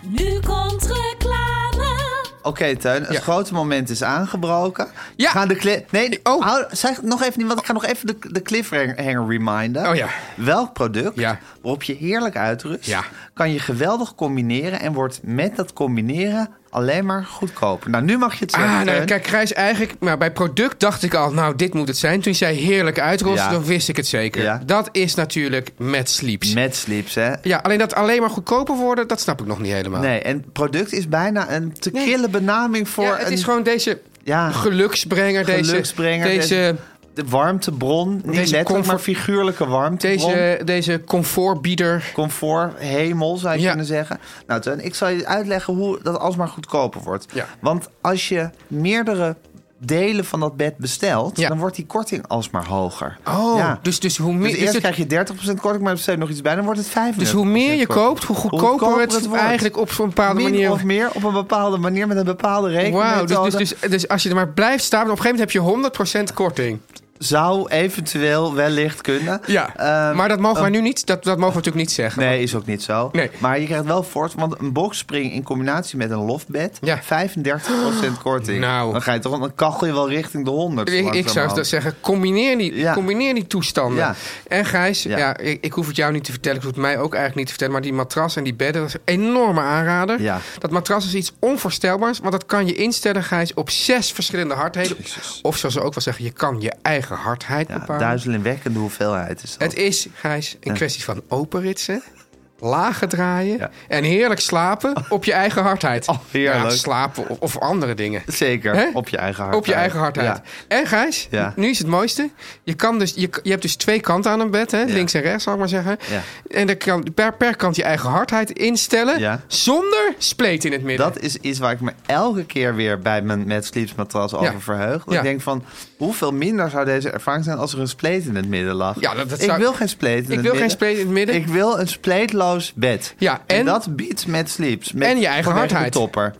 Nu komt reclame.
Oké, Teun, het
Ja.
grote moment is aangebroken.
Ja.
We gaan de cli- nee,
Oh.
hou- zeg nog even niet, want ik ga nog even de, de cliffhanger reminden.
Oh ja.
Welk product
Ja.
waarop je heerlijk uitrust,
Ja.
kan je geweldig combineren en wordt met dat combineren alleen maar goedkoper. Nou, nu mag je het zeggen.
Ah, nou,
Teun.
kijk, Grijs, eigenlijk... Maar bij product dacht ik al, nou, dit moet het zijn. Toen zij heerlijk uitrolde,
Ja.
dan wist ik het zeker.
Ja.
Dat is natuurlijk met sleeps.
Met slips, hè?
Ja, alleen dat alleen maar goedkoper worden, dat snap ik nog niet helemaal.
Nee, en product is bijna een te
Nee.
kille benaming voor
ja, het
een
is gewoon deze
ja,
geluksbrenger,
geluksbrenger.
deze... deze
de warmtebron, niet
Deze
letterlijk,
comfort-
maar figuurlijke warmtebron.
Deze, deze comfortbieder.
comfort, hemel zou je
Ja.
kunnen zeggen. Nou, Teun, ik zal je uitleggen hoe dat alsmaar goedkoper wordt.
Ja.
Want als je meerdere delen van dat bed bestelt,
Ja.
dan wordt die korting alsmaar hoger.
Oh,
Ja.
dus, dus hoe
Dus
meer.
eerst
dus, het-
krijg je 30% korting, maar bestel je nog iets bij, dan wordt het 35%.
dus hoe meer je koopt, hoe goedkoper het,
wordt.
eigenlijk op zo'n bepaalde
Min
manier.
of meer op een bepaalde manier met een bepaalde
Wauw,
rekenmethode.
dus, dus, dus, dus als je er maar blijft staan, op een gegeven moment heb je 100% korting.
zou eventueel wellicht kunnen.
Ja,
Ehm,
Eh, maar dat mogen wij nu niet, dat, dat mogen we natuurlijk niet zeggen.
Nee, is ook niet zo.
Nee.
Maar je krijgt wel voort, want een boxspring in combinatie met een loftbed,
Ja.
35% korting.
Nou.
Dan ga je toch dan kachel je wel richting de 100.
Ik, ik zou dat
langzamerhand.
zeggen, combineer die,
Ja.
combineer die toestanden.
Ja.
En Gijs, ja.
Ja.
ik, ik hoef het jou niet te vertellen, ik hoef het mij ook eigenlijk niet te vertellen, maar die matras en die bedden, dat is een enorme aanrader.
Ja.
Dat matras is iets onvoorstelbaars, want dat kan je instellen, Gijs, op zes verschillende hardheden. Of zoals ze ook wel zeggen, je kan je eigen hardheid
Ja,
bepalen.
duizelingwekkende hoeveelheid is dat.
Oh. Het is, Gijs, een kwestie van openritsen, lagen draaien
Ja.
en heerlijk slapen op je eigen hardheid.
Oh, heerlijk.
Ja, slapen of, of andere dingen.
Zeker,
Hè?
op je eigen hart.
Op je eigen hardheid.
Ja.
En Gijs,
Ja.
nu is het mooiste. Je, kan dus, je, je hebt dus twee kanten aan een bed, hè? links en rechts, zal ik maar zeggen.
Ja.
En dan kan je per, per kant je eigen hardheid instellen,
Ja.
zonder spleet in het midden.
Dat is iets waar ik me elke keer weer bij mijn Mad Sleeps matras over verheug. Dat
Ja.
Ik denk van, hoeveel minder zou deze ervaring zijn als er een spleet in het midden lag?
Ja, dat- dat
ik
zou-
wil geen spleet in het
wil
midden.
geen spleet in het midden.
Ik wil een spleetloos bed.
Ja, en-
dat biedt Mad Sleeps. Met
En je eigen
vanwege de
hardheid.
topper.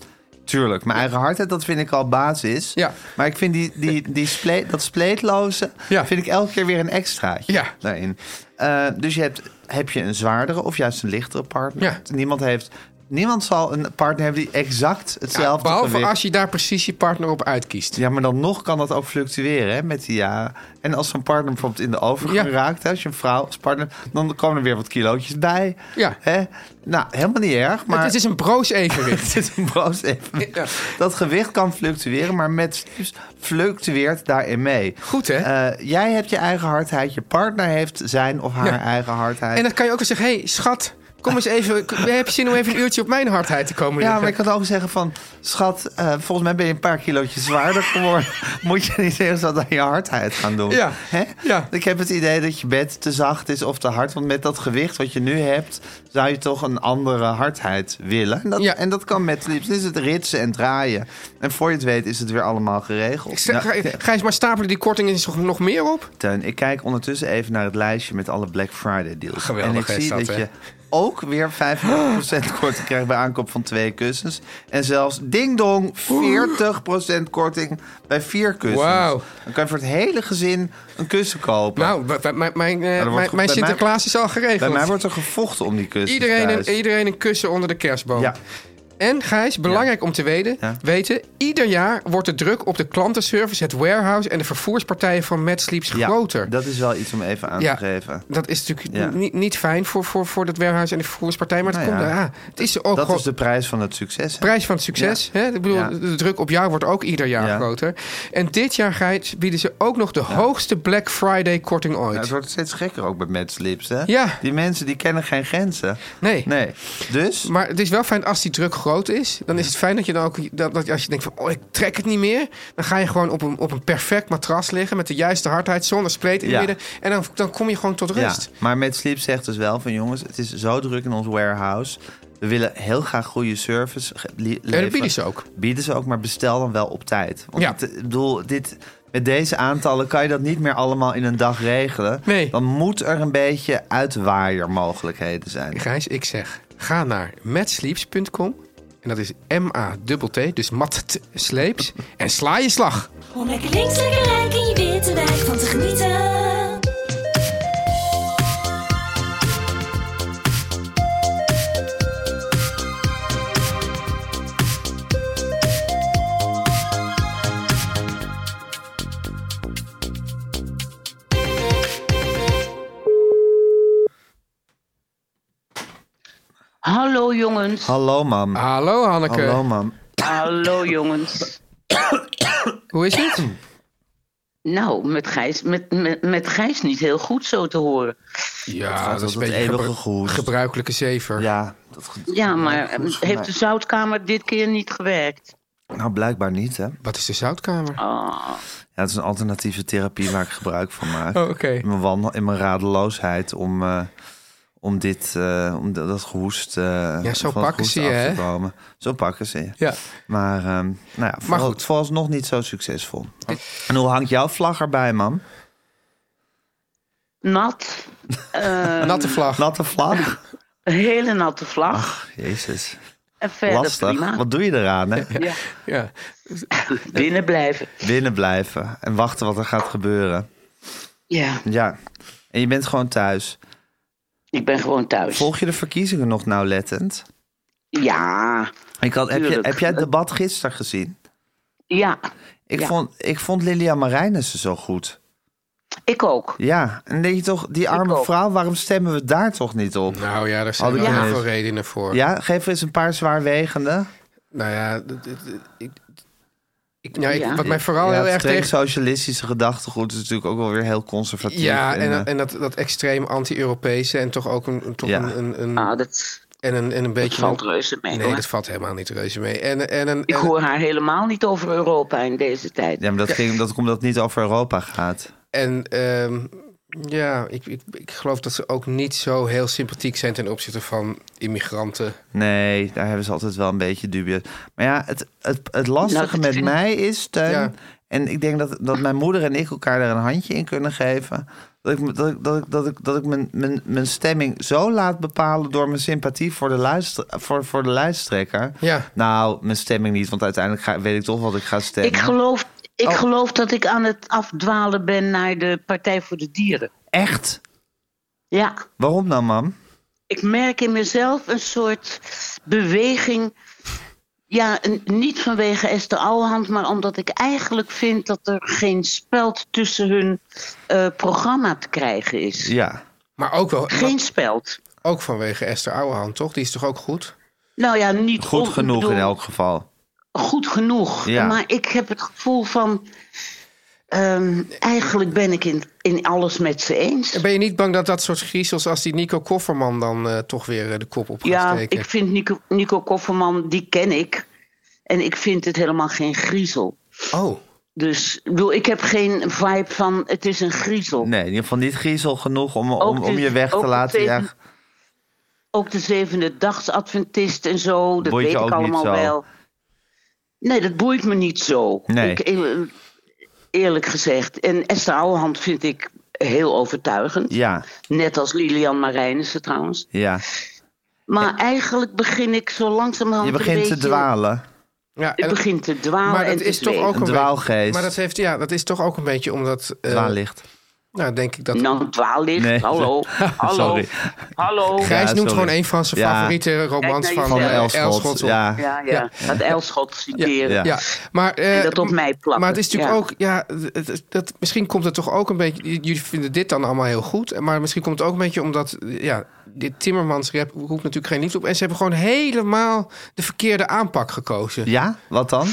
Tuurlijk, mijn eigen hardheid, dat vind ik al basis.
Ja.
Maar ik vind die, die, die spleet, dat spleetloze,
Ja.
vind ik elke keer weer een extraatje
Ja.
daarin. Eh, dus je hebt, heb je een zwaardere of juist een lichtere partner.
Ja.
Niemand heeft niemand zal een partner hebben die exact
Ja,
hetzelfde
behalve
gewicht-
als je daar precies je partner op uitkiest.
Ja, maar dan nog kan dat ook fluctueren hè, met die jaren. En als zo'n partner bijvoorbeeld in de overgang
Ja.
raakt, hè, als je een vrouw als partner, dan komen er weer wat kilootjes bij.
Ja.
Hè? Nou, helemaal niet erg, maar
Het is een broos evenwicht.
het is een broos evenwicht.
Ja.
Dat gewicht kan fluctueren, maar met slips fluctueert daarin mee.
Goed, hè?
Eh, jij hebt je eigen hardheid, je partner heeft zijn of haar
Ja.
eigen hardheid.
en dan kan je ook wel zeggen, hé hey, schat, kom eens even, k- heb je zin om even een uurtje op mijn hardheid te komen
Ja,
liggen?
maar ik kan ook zeggen van... Schat, eh, volgens mij ben je een paar kilootjes zwaarder geworden. Moet je niet eerst wat aan je hardheid gaan doen?
Ja,
Hè?
ja.
Ik heb het idee dat je bed te zacht is of te hard. Want met dat gewicht wat je nu hebt... zou je toch een andere hardheid willen. En dat,
Ja.
en dat kan met liefst. Dan is het ritsen en draaien. En voor je het weet is het weer allemaal
Ik
geregeld.
zeg,
Nou,
ga, ga eens maar stapelen die korting is nog- nog meer op.
Teun, ik kijk ondertussen even naar het lijstje met alle Black Friday deals.
Geweldig
en ik
is
zie
dat,
dat,
hè?
je ook weer 50% korting krijgt bij aankoop van twee kussens. En zelfs ding dong, 40% korting bij vier kussens.
Wauw.
Dan kan je voor het hele gezin een kussen kopen.
Nou, bij- bij- mijn, mijn,
wordt
eh, mijn,
ge-
mijn
bij mij-
Sinterklaas is al
bij
geregeld.
mij wordt er gevochten om die kussens
iedereen,
thuis.
een, iedereen een kussen onder de kerstboom.
Ja.
En Gijs, belangrijk om te weten,
Ja.
weten, ieder jaar wordt de druk op de klantenservice, het warehouse en de vervoerspartijen van MadSleeps
ja,
groter.
Dat is wel iets om even aan
Ja.
te geven.
Dat is natuurlijk
Ja.
niet, niet fijn voor, voor, voor dat warehouse en de vervoerspartij. Maar het,
Nou ja.
komt, ja, het is ook
Dat
gewoon
is de prijs van het succes. hè?
prijs van het succes. Hè? Ik bedoel,
Ja.
de druk op jou wordt ook ieder jaar
Ja.
groter. En dit jaar, Gijs, bieden ze ook nog de hoogste Black Friday korting ooit.
Ja, het wordt steeds gekker ook met Mad Slips, hè?
Ja.
Die mensen die kennen geen grenzen.
Nee.
Nee. Dus
Maar het is wel fijn als die druk groot is. Dan is het fijn dat je dan ook. Dat, dat als je denkt van. Oh, ik trek het niet meer. Dan ga je gewoon op een, op een perfect matras liggen. Met de juiste hardheid. Zonder spleet in het
Ja.
midden. En dan, dan kom je gewoon tot rust.
Ja, maar met Sleep zegt dus wel van jongens, het is zo druk in ons warehouse. We willen heel graag goede service ge- li- leveren.
bieden ze ook.
Bieden ze ook, maar bestel dan wel op tijd. Want
Ja.
het, ik bedoel, dit, met deze aantallen kan je dat niet meer allemaal in een dag regelen.
Nee.
Dan moet er een beetje uitwaaiermogelijkheden zijn.
Gijs, ik zeg. Ga naar matsleeps.com. En dat is M-A-T-T. Dus mat t- sleeps. En sla je slag.
Om lekker links, lekker rijk in je witte wijk van te genieten.
Hallo jongens.
Hallo mam.
Hallo Hanneke.
Hallo mam.
Hallo jongens.
Hoe is het?
Nou, met Gijs, met, met, met Gijs niet heel goed zo te horen.
Ja,
gaat
dat is een
altijd
beetje
eeuwige
gebru-
gehoest.
gebruikelijke zever.
Ja, dat goed.
Ja, maar eh,
volgens
heeft
mij-
de zoutkamer dit keer niet gewerkt?
Nou, blijkbaar niet hè.
Wat is de zoutkamer?
Oh,
Ja, het is een alternatieve therapie waar ik gebruik van maak.
Oh, Oké.
in mijn, wanhel- in mijn radeloosheid om, eh, om dit, eh, om dat, dat gehoest. eh,
zo
van het
pakken
gehoest
ze je,
af te
hè?
komen. Zo pakken ze je.
Ja.
Maar, ehm, nou ja, vooral,
goed.
vooralsnog niet zo succesvol. En hoe hangt jouw vlag erbij, man?
nat. Eh,
Natte vlag.
Natte vlag?
een hele natte vlag.
Jezus,
en verder
lastig.
prima.
Wat doe je eraan, hè?
Ja,
Ja.
binnen blijven.
Binnen blijven en wachten wat er gaat gebeuren.
Ja,
Ja, en je bent gewoon thuis.
ik ben gewoon thuis.
Volg je de verkiezingen nog nauwlettend?
Ja,
Ik had, heb, je,
Tuurlijk.
heb jij het debat gisteren gezien?
ja,
Ik,
Ja.
vond, ik vond Lilian Marijnissen zo goed.
ik ook.
Ja, en dan denk je toch, die arme
ook.
vrouw, waarom stemmen we daar toch niet op?
Nou ja, daar zijn
Had ik
heel
ineens.
veel redenen voor.
Ja, geef eens een paar zwaarwegende.
Nou ja, d- d- d- ik, ik, nou, ik-
Ja.
wat mij vooral
ja,
heel
het
erg
streng
tegen...
socialistische gedachtegoed is natuurlijk ook wel weer heel conservatief.
Ja, en,
eh,
dat- en dat, dat extreem anti-Europese en toch ook een, toch
Ja.
een, een, een-
Ah, dat,
en een, en een
dat
beetje...
valt reuze mee.
nee,
hoor.
dat valt helemaal niet reuze mee. En, en, een-
Ik
en-
hoor haar helemaal niet over Europa in deze tijd.
ja, maar dat ging omdat, omdat het niet over Europa gaat.
En ehm, ja, ik, ik, ik geloof dat ze ook niet zo heel sympathiek zijn ten opzichte van immigranten.
Nee, daar hebben ze altijd wel een beetje dubieus. Maar ja, het, het, het lastige
Nou, dat
met
vind-
mij is, Teun...
Ja.
en ik denk dat, dat mijn moeder en ik elkaar daar een handje in kunnen geven... dat ik, me- dat ik, dat ik, dat ik, dat ik mijn, mijn, mijn stemming zo laat bepalen... door mijn sympathie voor de, luister, voor, voor de lijsttrekker.
Ja.
Nou, mijn stemming niet, want uiteindelijk ga, weet ik toch wat ik ga stemmen. Oh.
Ik geloof, ik geloof dat ik aan het afdwalen ben naar de Partij voor de Dieren.
Echt?
Ja,
Waarom dan, mam?
ik merk in mezelf een soort beweging. Ja, een- niet vanwege Esther Ouwehand, maar omdat ik eigenlijk vind dat er geen speld tussen hun eh, programma te krijgen is.
Ja.
Maar ook wel,
Geen speld.
ook vanwege Esther Ouwehand, toch? Die is toch ook goed?
Nou ja, niet
Goed
on-
genoeg
bedoel,
in elk geval.
Goed genoeg.
Ja.
Maar ik heb het gevoel van. ehm, eigenlijk ben ik in, in alles met ze eens.
En ben je niet bang dat dat soort griezels als die Nico Kofferman dan eh, toch weer eh, de kop op gaat
Ja,
steken?
ik vind Nico, Nico Kofferman, die ken ik. En ik vind het helemaal geen griezel.
Oh,
Dus ik bedoel, ik heb geen vibe van het is een griezel.
Nee, in ieder geval niet griezel genoeg om,
Ook
om, om
dus-
je weg
ook
te
de
laten.
tweede-
Ja,
Ook de zevende dags Adventist en zo, dat
Boeit je
weet
ook
ik
niet
allemaal
zo?
wel. Nee, dat boeit me niet zo.
Nee.
Ik, eh, eerlijk gezegd. En Esther Ouwehand vind ik heel overtuigend.
ja,
Net als Lilian Marijnissen trouwens.
ja.
Maar eigenlijk begin ik zo langzamerhand
Je begint
een
te
beetje-
dwalen.
ja.
Ik
en-
begin te dwalen
maar
en
dat
te
is toch
zweven.
ook een
Een dwaalgeest.
Beetje, maar dat, heeft, ja, dat is toch ook een beetje omdat... eh,
Dwaallicht.
nou, denk ik dat...
Nou, dwaallicht,
Nee.
hallo, hallo,
Sorry.
hallo.
Grijs
Ja,
noemt
sorry.
gewoon een van zijn
Ja.
favoriete romans
Kijk naar
van,
Van
jezelf.
eh,
Elschot.
Elschot. op.
Ja.
Ja, ja,
Ja.
dat Elschot citeren.
Ja.
Ja, maar, eh,
En dat op mij plakken,
Maar het is natuurlijk
ja.
ook, ja, het- het- dat, misschien komt het toch ook een beetje. j- Jullie vinden dit dan allemaal heel goed, maar misschien komt het ook een beetje omdat, ja, dit Timmermans rap roept natuurlijk geen liefde op. En ze hebben gewoon helemaal de verkeerde aanpak gekozen.
Ja, wat dan?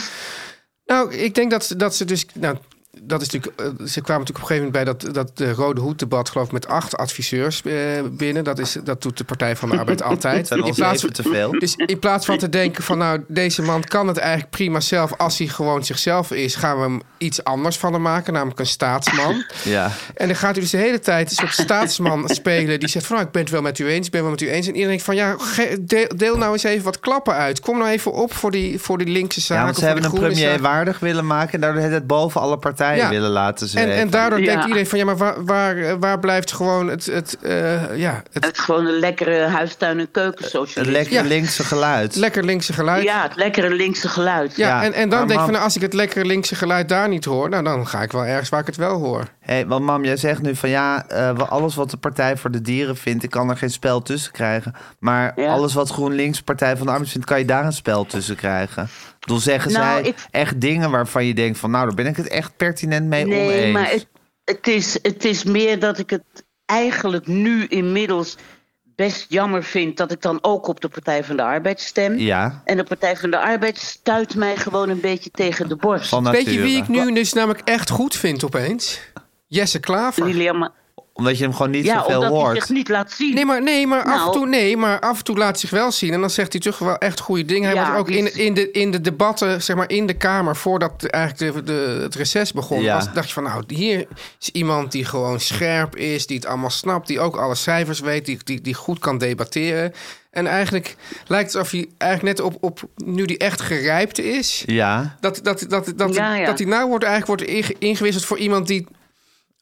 Nou, ik denk dat ze, dat ze dus. Nou, dat is natuurlijk, eh, ze kwamen natuurlijk op een gegeven moment bij dat, dat eh, Rode Hoed-debat, geloof ik, met acht adviseurs eh, binnen. Dat, is, dat doet de Partij van de Arbeid altijd.
Zijn
In
ons
plaats
even
van-
te veel.
dus in plaats van te denken van nou, deze man kan het eigenlijk prima zelf. Als hij gewoon zichzelf is, gaan we hem iets anders van hem maken. Namelijk een staatsman.
Ja.
En dan gaat u dus de hele tijd een soort staatsman spelen. Die zegt van nou, ik ben het wel met u eens, ik ben wel met u eens. En iedereen denkt van ja, ge- deel, deel nou eens even wat klappen uit. Kom nou even op voor die, voor die linkse zaken.
ja, want ze
voor die
hebben een
groene
premier
zaken.
waardig willen maken en daardoor het boven alle partijen
eh, Ja.
willen laten
En,
zweven.
en daardoor
Ja.
denkt iedereen van ja, maar waar, waar, eh, waar blijft gewoon het, het, eh, ja, het
Het gewoon een lekkere huistuin- en keukensocialisme.
Het lekker
Ja.
linkse geluid.
lekker linkse geluid?
Ja, het lekkere linkse geluid.
Ja,
Ja,
en, en dan
maar
denk je
mam-
van, nou, als ik het lekkere linkse geluid daar niet hoor... nou, dan ga ik wel ergens waar ik het wel hoor.
Hé, want mam, jij zegt nu van ja, eh, wel alles wat de Partij voor de Dieren vindt, ik kan er geen spel tussen krijgen. Maar
Ja.
alles wat GroenLinks, Partij van de Arbeid vindt, kan je daar een spel tussen krijgen. Toen zeggen
Nou,
zij
ik-
echt dingen waarvan je denkt van nou, daar ben ik het echt pertinent mee
nee,
oneens.
maar het, het, is, het is meer dat ik het eigenlijk nu inmiddels best jammer vind dat ik dan ook op de Partij van de Arbeid stem.
Ja,
En de Partij van de Arbeid stuit mij gewoon een beetje tegen de borst.
van
Weet
nature.
je wie ik nu dus namelijk echt goed vind opeens? Jesse Klaver.
Lilian Ma-
Omdat je hem gewoon niet
ja,
zoveel
omdat hij
hoort.
zich niet laat zien.
Nee, maar, nee, maar af en
Nou.
toe, nee, maar af en toe laat hij zich wel zien. En dan zegt hij toch wel echt goede dingen. Hij
Ja,
was ook
die
in,
is-
in, de, in de debatten, zeg maar in de Kamer... voordat eigenlijk de, de- het reces begon...
Ja.
was- dacht je van, nou, hier is iemand die gewoon scherp is... die het allemaal snapt, die ook alle cijfers weet... die, die, die goed kan debatteren. En eigenlijk lijkt het alsof hij eigenlijk net op, op nu die echt gerijpt is...
Ja,
Dat, dat, dat, dat,
Ja, ja.
dat hij nou wordt, eigenlijk wordt inge- ingewisseld voor iemand die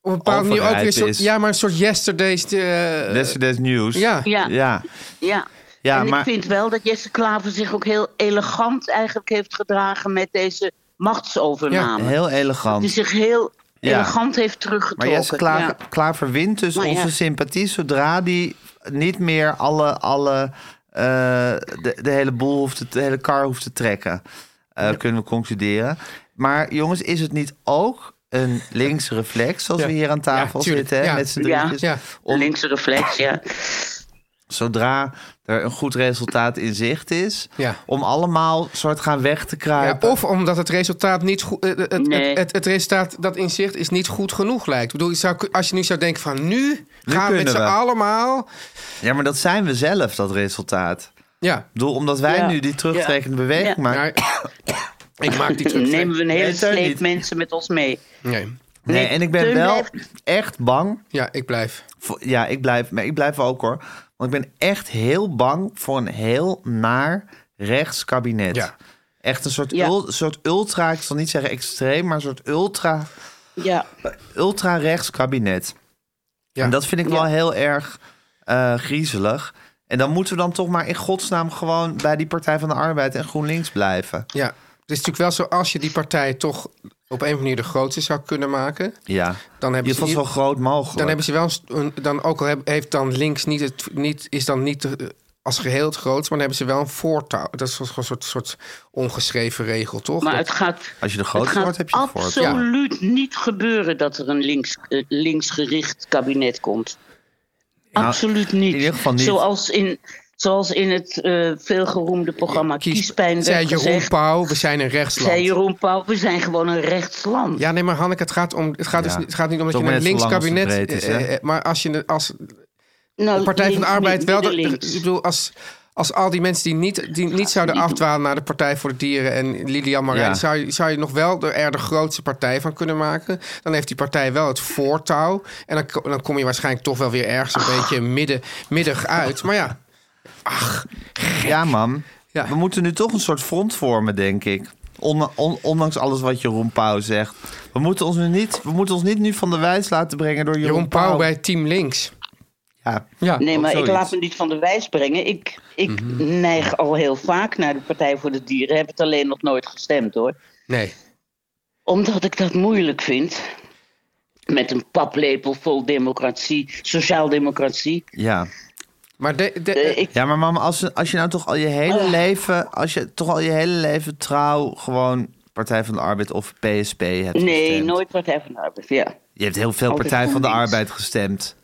op een bepaalde manier ook weer... een
Overrijp
Soort,
is.
ja, maar een soort yesterday's... eh,
yesterday's news.
ja.
Ja, ja.
ja. Ja,
en
maar-
ik vind wel dat Jesse Klaver zich ook heel elegant eigenlijk heeft gedragen met deze machtsovername.
heel elegant.
Die zich heel
Ja.
elegant heeft
Maar
teruggetrokken.
Jesse Kla
ja.
Klaver wint dus
Maar ja.
onze sympathie zodra die niet meer alle, alle eh, de, de hele boel hoeft te, de hele kar hoeft te trekken. eh, Kunnen we concluderen. Maar jongens, is het niet ook een linkse reflex, zoals
Ja.
we hier aan tafel
Ja, tuurlijk.
zitten, hè,
Ja.
met z'n
Ja.
drietjes?
Ja.
Om-
Linkse reflex, ja.
zodra er een goed resultaat in zicht is,
Ja.
om allemaal soort gaan weg te
Ja,
kruipen.
Eh, of omdat het resultaat niet goed. eh, Het, het,
Nee.
het, het, resultaat dat in zicht is niet goed genoeg lijkt. Ik bedoel, je zou, als je nu zou denken van nu, gaan we met
kunnen
z'n
we.
allemaal.
Ja, maar dat zijn we zelf, dat resultaat.
Ja,
Ik bedoel, omdat wij
Ja.
nu die terugtrekkende beweging
Ja.
maken.
nou, ik maak die terug.
Nemen we een hele
Nee, zo
sleep
niet.
mensen met ons mee.
Nee. dus
Nee,
Nee,
en ik ben
Teun
wel
blijft-
echt bang.
Ja, ik blijf.
Voor, ja, ik blijf, maar ik blijf ook hoor. Want ik ben echt heel bang voor een heel naar rechts kabinet.
Ja.
Echt een soort,
Ja.
ul- soort ultra, ik zal niet zeggen extreem, maar een soort ultra,
Ja,
ultra rechts kabinet.
Ja.
En dat vind ik wel heel erg eh, griezelig. En dan moeten we dan toch maar in godsnaam gewoon bij die Partij van de Arbeid en GroenLinks blijven.
Ja. Het is natuurlijk wel zo, als je die partij toch op een of andere manier de grootste zou kunnen maken.
Ja.
Dan
Je
hebben ze
vond
in-
zo groot mogelijk.
Dan hebben ze wel een st- een, dan ook al heb- heeft dan links niet het niet is dan niet eh, als geheel het grootste, maar dan hebben ze wel een voortouw. Dat is gewoon een soort, soort ongeschreven regel, toch?
Maar
Dat-
het gaat,
Als je de
het
grootste wordt,
gaat
heb je het voor.
absoluut niet gebeuren dat er een links, eh, linksgericht kabinet komt. absoluut niet.
Nou, in ieder geval niet.
Zoals in, zoals in het eh, veelgeroemde programma
Kies-
Kiespijn werd
zei Jeroen
gezegd.
Pauw, we zijn een rechtsland.
Zei Jeroen Pauw, we zijn gewoon een rechtsland.
Ja, nee, maar Hanneke, het gaat, om, het gaat, dus,
Ja.
niet- het gaat niet om dat
Toch
je een
net zo
links
lang als het
kabinet...
breed is, hè?
eh, eh, maar als je de- als
Nou,
de Partij van de
links,
Arbeid wel... dat-
middenlinks.
ik bedoel, als, als al die mensen die niet, die niet zouden
niet doen.
afdwalen naar de Partij voor de Dieren en Lilian Marijn...
Ja.
Zou, je- zou je nog wel er, er de grootste partij van kunnen maken. Dan heeft die partij wel het voortouw. En dan, ko- dan kom je waarschijnlijk toch wel weer ergens een beetje midden, middag uit. Maar ja,
Ja, mam.
Ja.
We moeten nu toch een soort front vormen, denk ik. Onma- on- ondanks alles wat Jeroen Pauw zegt. We moeten, ons nu niet, we moeten ons niet nu van de wijs laten brengen door Jeroen,
Jeroen Pauw bij Team Links.
Ja.
Ja.
Nee,
Ook
maar ik
zoiets.
laat me niet van de wijs brengen. Ik, ik
Mhm.
neig al heel vaak naar de Partij voor de Dieren. Heb het alleen nog nooit gestemd hoor.
Nee.
Omdat ik dat moeilijk vind. Met een paplepel vol democratie, sociaaldemocratie.
Ja.
Maar de, de-
Eh, ik,
ja, maar mam, als, als je nou toch al je hele
Oh.
leven... Als je toch al je hele leven trouw gewoon Partij van de Arbeid of PSP hebt
nee,
gestemd.
nooit Partij van de Arbeid. Ja.
Je hebt heel veel
Altijd
Partij van de
GroenLinks.
Arbeid gestemd.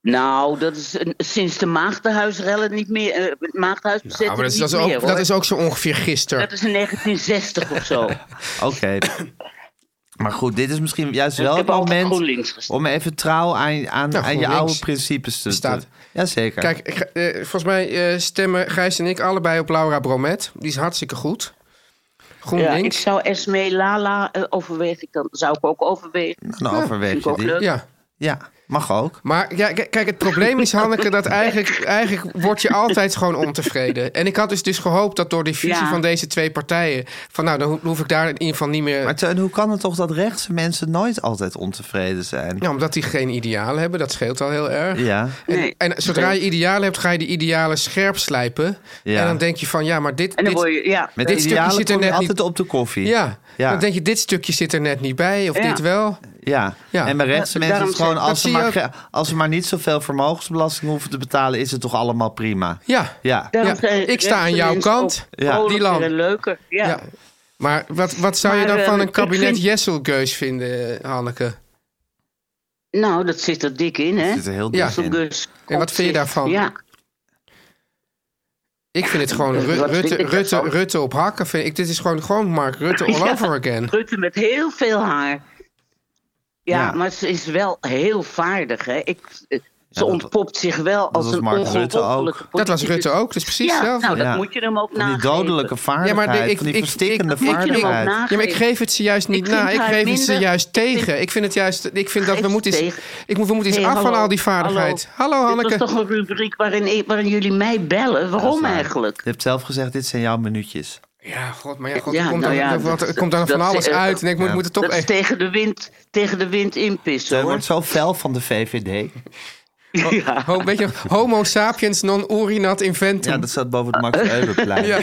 Nou, dat is een- sinds de maagdenhuisrellen niet meer. eh maagdenhuisbezetting
nou, maar dat, is, dat,
niet
is ook,
meer,
dat
hoor.
is ook zo ongeveer gisteren.
Dat is in 1960 of zo.
Oké. maar goed, dit is misschien juist
ik
wel het
heb altijd
moment...
GroenLinks gestemd.
Om even trouw aan, aan, aan je
Nou, GroenLinks
oude principes te...
staat.
Jazeker.
Kijk, ik ga- eh, volgens mij eh, stemmen Gijs en ik allebei op Laura Bromet. Die is hartstikke goed.
Ja,
GroenLinks.
ik zou Esme Lala eh, overwegen. Ik Dan zou ik ook overwegen.
Dan overweeg
Vind ik
je
ook
die.
leuk.
Ja.
Ja, mag ook.
Maar ja, k- kijk, het probleem is, Hanneke, dat eigenlijk, eigenlijk word je altijd gewoon ontevreden. En ik had dus, dus gehoopt dat door die fusie
Ja.
van deze twee partijen... van nou, dan ho- hoef ik daar in ieder geval niet meer...
Maar Teun, hoe kan het toch dat rechtse mensen nooit altijd ontevreden zijn?
Ja, omdat die geen idealen hebben, dat scheelt al heel erg.
Ja.
En,
Nee.
en zodra je idealen hebt, ga je die idealen scherp slijpen.
Ja.
En dan denk je van, ja, maar dit...
En dan
dit
word je, ja.
Met
Dit stukje
idealen
zit er
kom je
net niet-
altijd op de koffie.
ja.
Ja.
dan denk je, dit stukje zit er net niet bij, of
Ja.
dit wel.
Ja.
Ja.
En bij rechtse
Ja,
mensen is
daarom
het gewoon...
zeg-
dat
Als ze,
zie je
maar, ge- als ze maar niet zoveel vermogensbelasting hoeven te betalen... is het toch allemaal prima?
Ja.
Ja.
Daarom
Ja,
zijn
ik sta aan
rechtse
jouw
mensen
kant.
ook
Ja. Die
vrolijker
lamp.
en leuker. Ja.
Ja. Maar wat, wat zou je
Maar,
dan
eh,
van een
ik
kabinet
vind-
Jesselgeus vinden, eh, Hanneke?
Nou, dat zit er dik in, hè?
Het zit er heel
Ja.
dik
Zo'n
in.
gus.
En wat vind je daarvan?
Ja.
Ik vind het gewoon
eh,
Ru-
wat
Rutte,
vind ik
Rutte,
daarvan?
Rutte op hakken. Vind ik. Dit is gewoon, gewoon Mark Rutte all
Ja.
over again.
Rutte met heel veel haar. Ja,
Ja.
maar ze is wel heel vaardig, hè? Ik, eh, ze
dat-
ontpopt zich wel als
was
een
Mark Rutte
ongelofelijke
ook.
Dat was
politicus.
Rutte ook, dus precies
Ja,
hetzelfde.
nou, dat
Ja.
moet je hem ook
Van die
nageven.
dodelijke vaardigheid.
de-
van die verstikkende
ik-
hem ook
vaardigheid.
na-
Ja, maar ik geef het ze juist niet
Ik
na.
vind
Ik
haar
geef het ze
minder-
juist tegen. Ik vind het juist. Ik vind dat
Geef
we
ze
moeten iets,
tegen.
ik moet, we moeten iets
Hey,
af van
hallo,
al die vaardigheid. Hallo, Hanneke.
Dit was toch een rubriek waarin, ik- waarin jullie mij bellen?
Dat is
Waarom
waar.
eigenlijk?
Je hebt zelf gezegd, dit zijn jouw minuutjes.
Ja, god, maar ja, god,
Ja,
er komt
nou
dan,
ja,
er- want er
dat-
komt dan
dat-
van alles
eh,
uit. En ik moet, moet het toch
dat is
echt.
tegen de wind, tegen de wind inpissen,
Teun
hoor.
wordt zo fel van de VVD.
Ja.
Ho, weet je, nog, homo sapiens non urinat inventum.
Ja, dat staat boven het Max Euberplein.
Ja.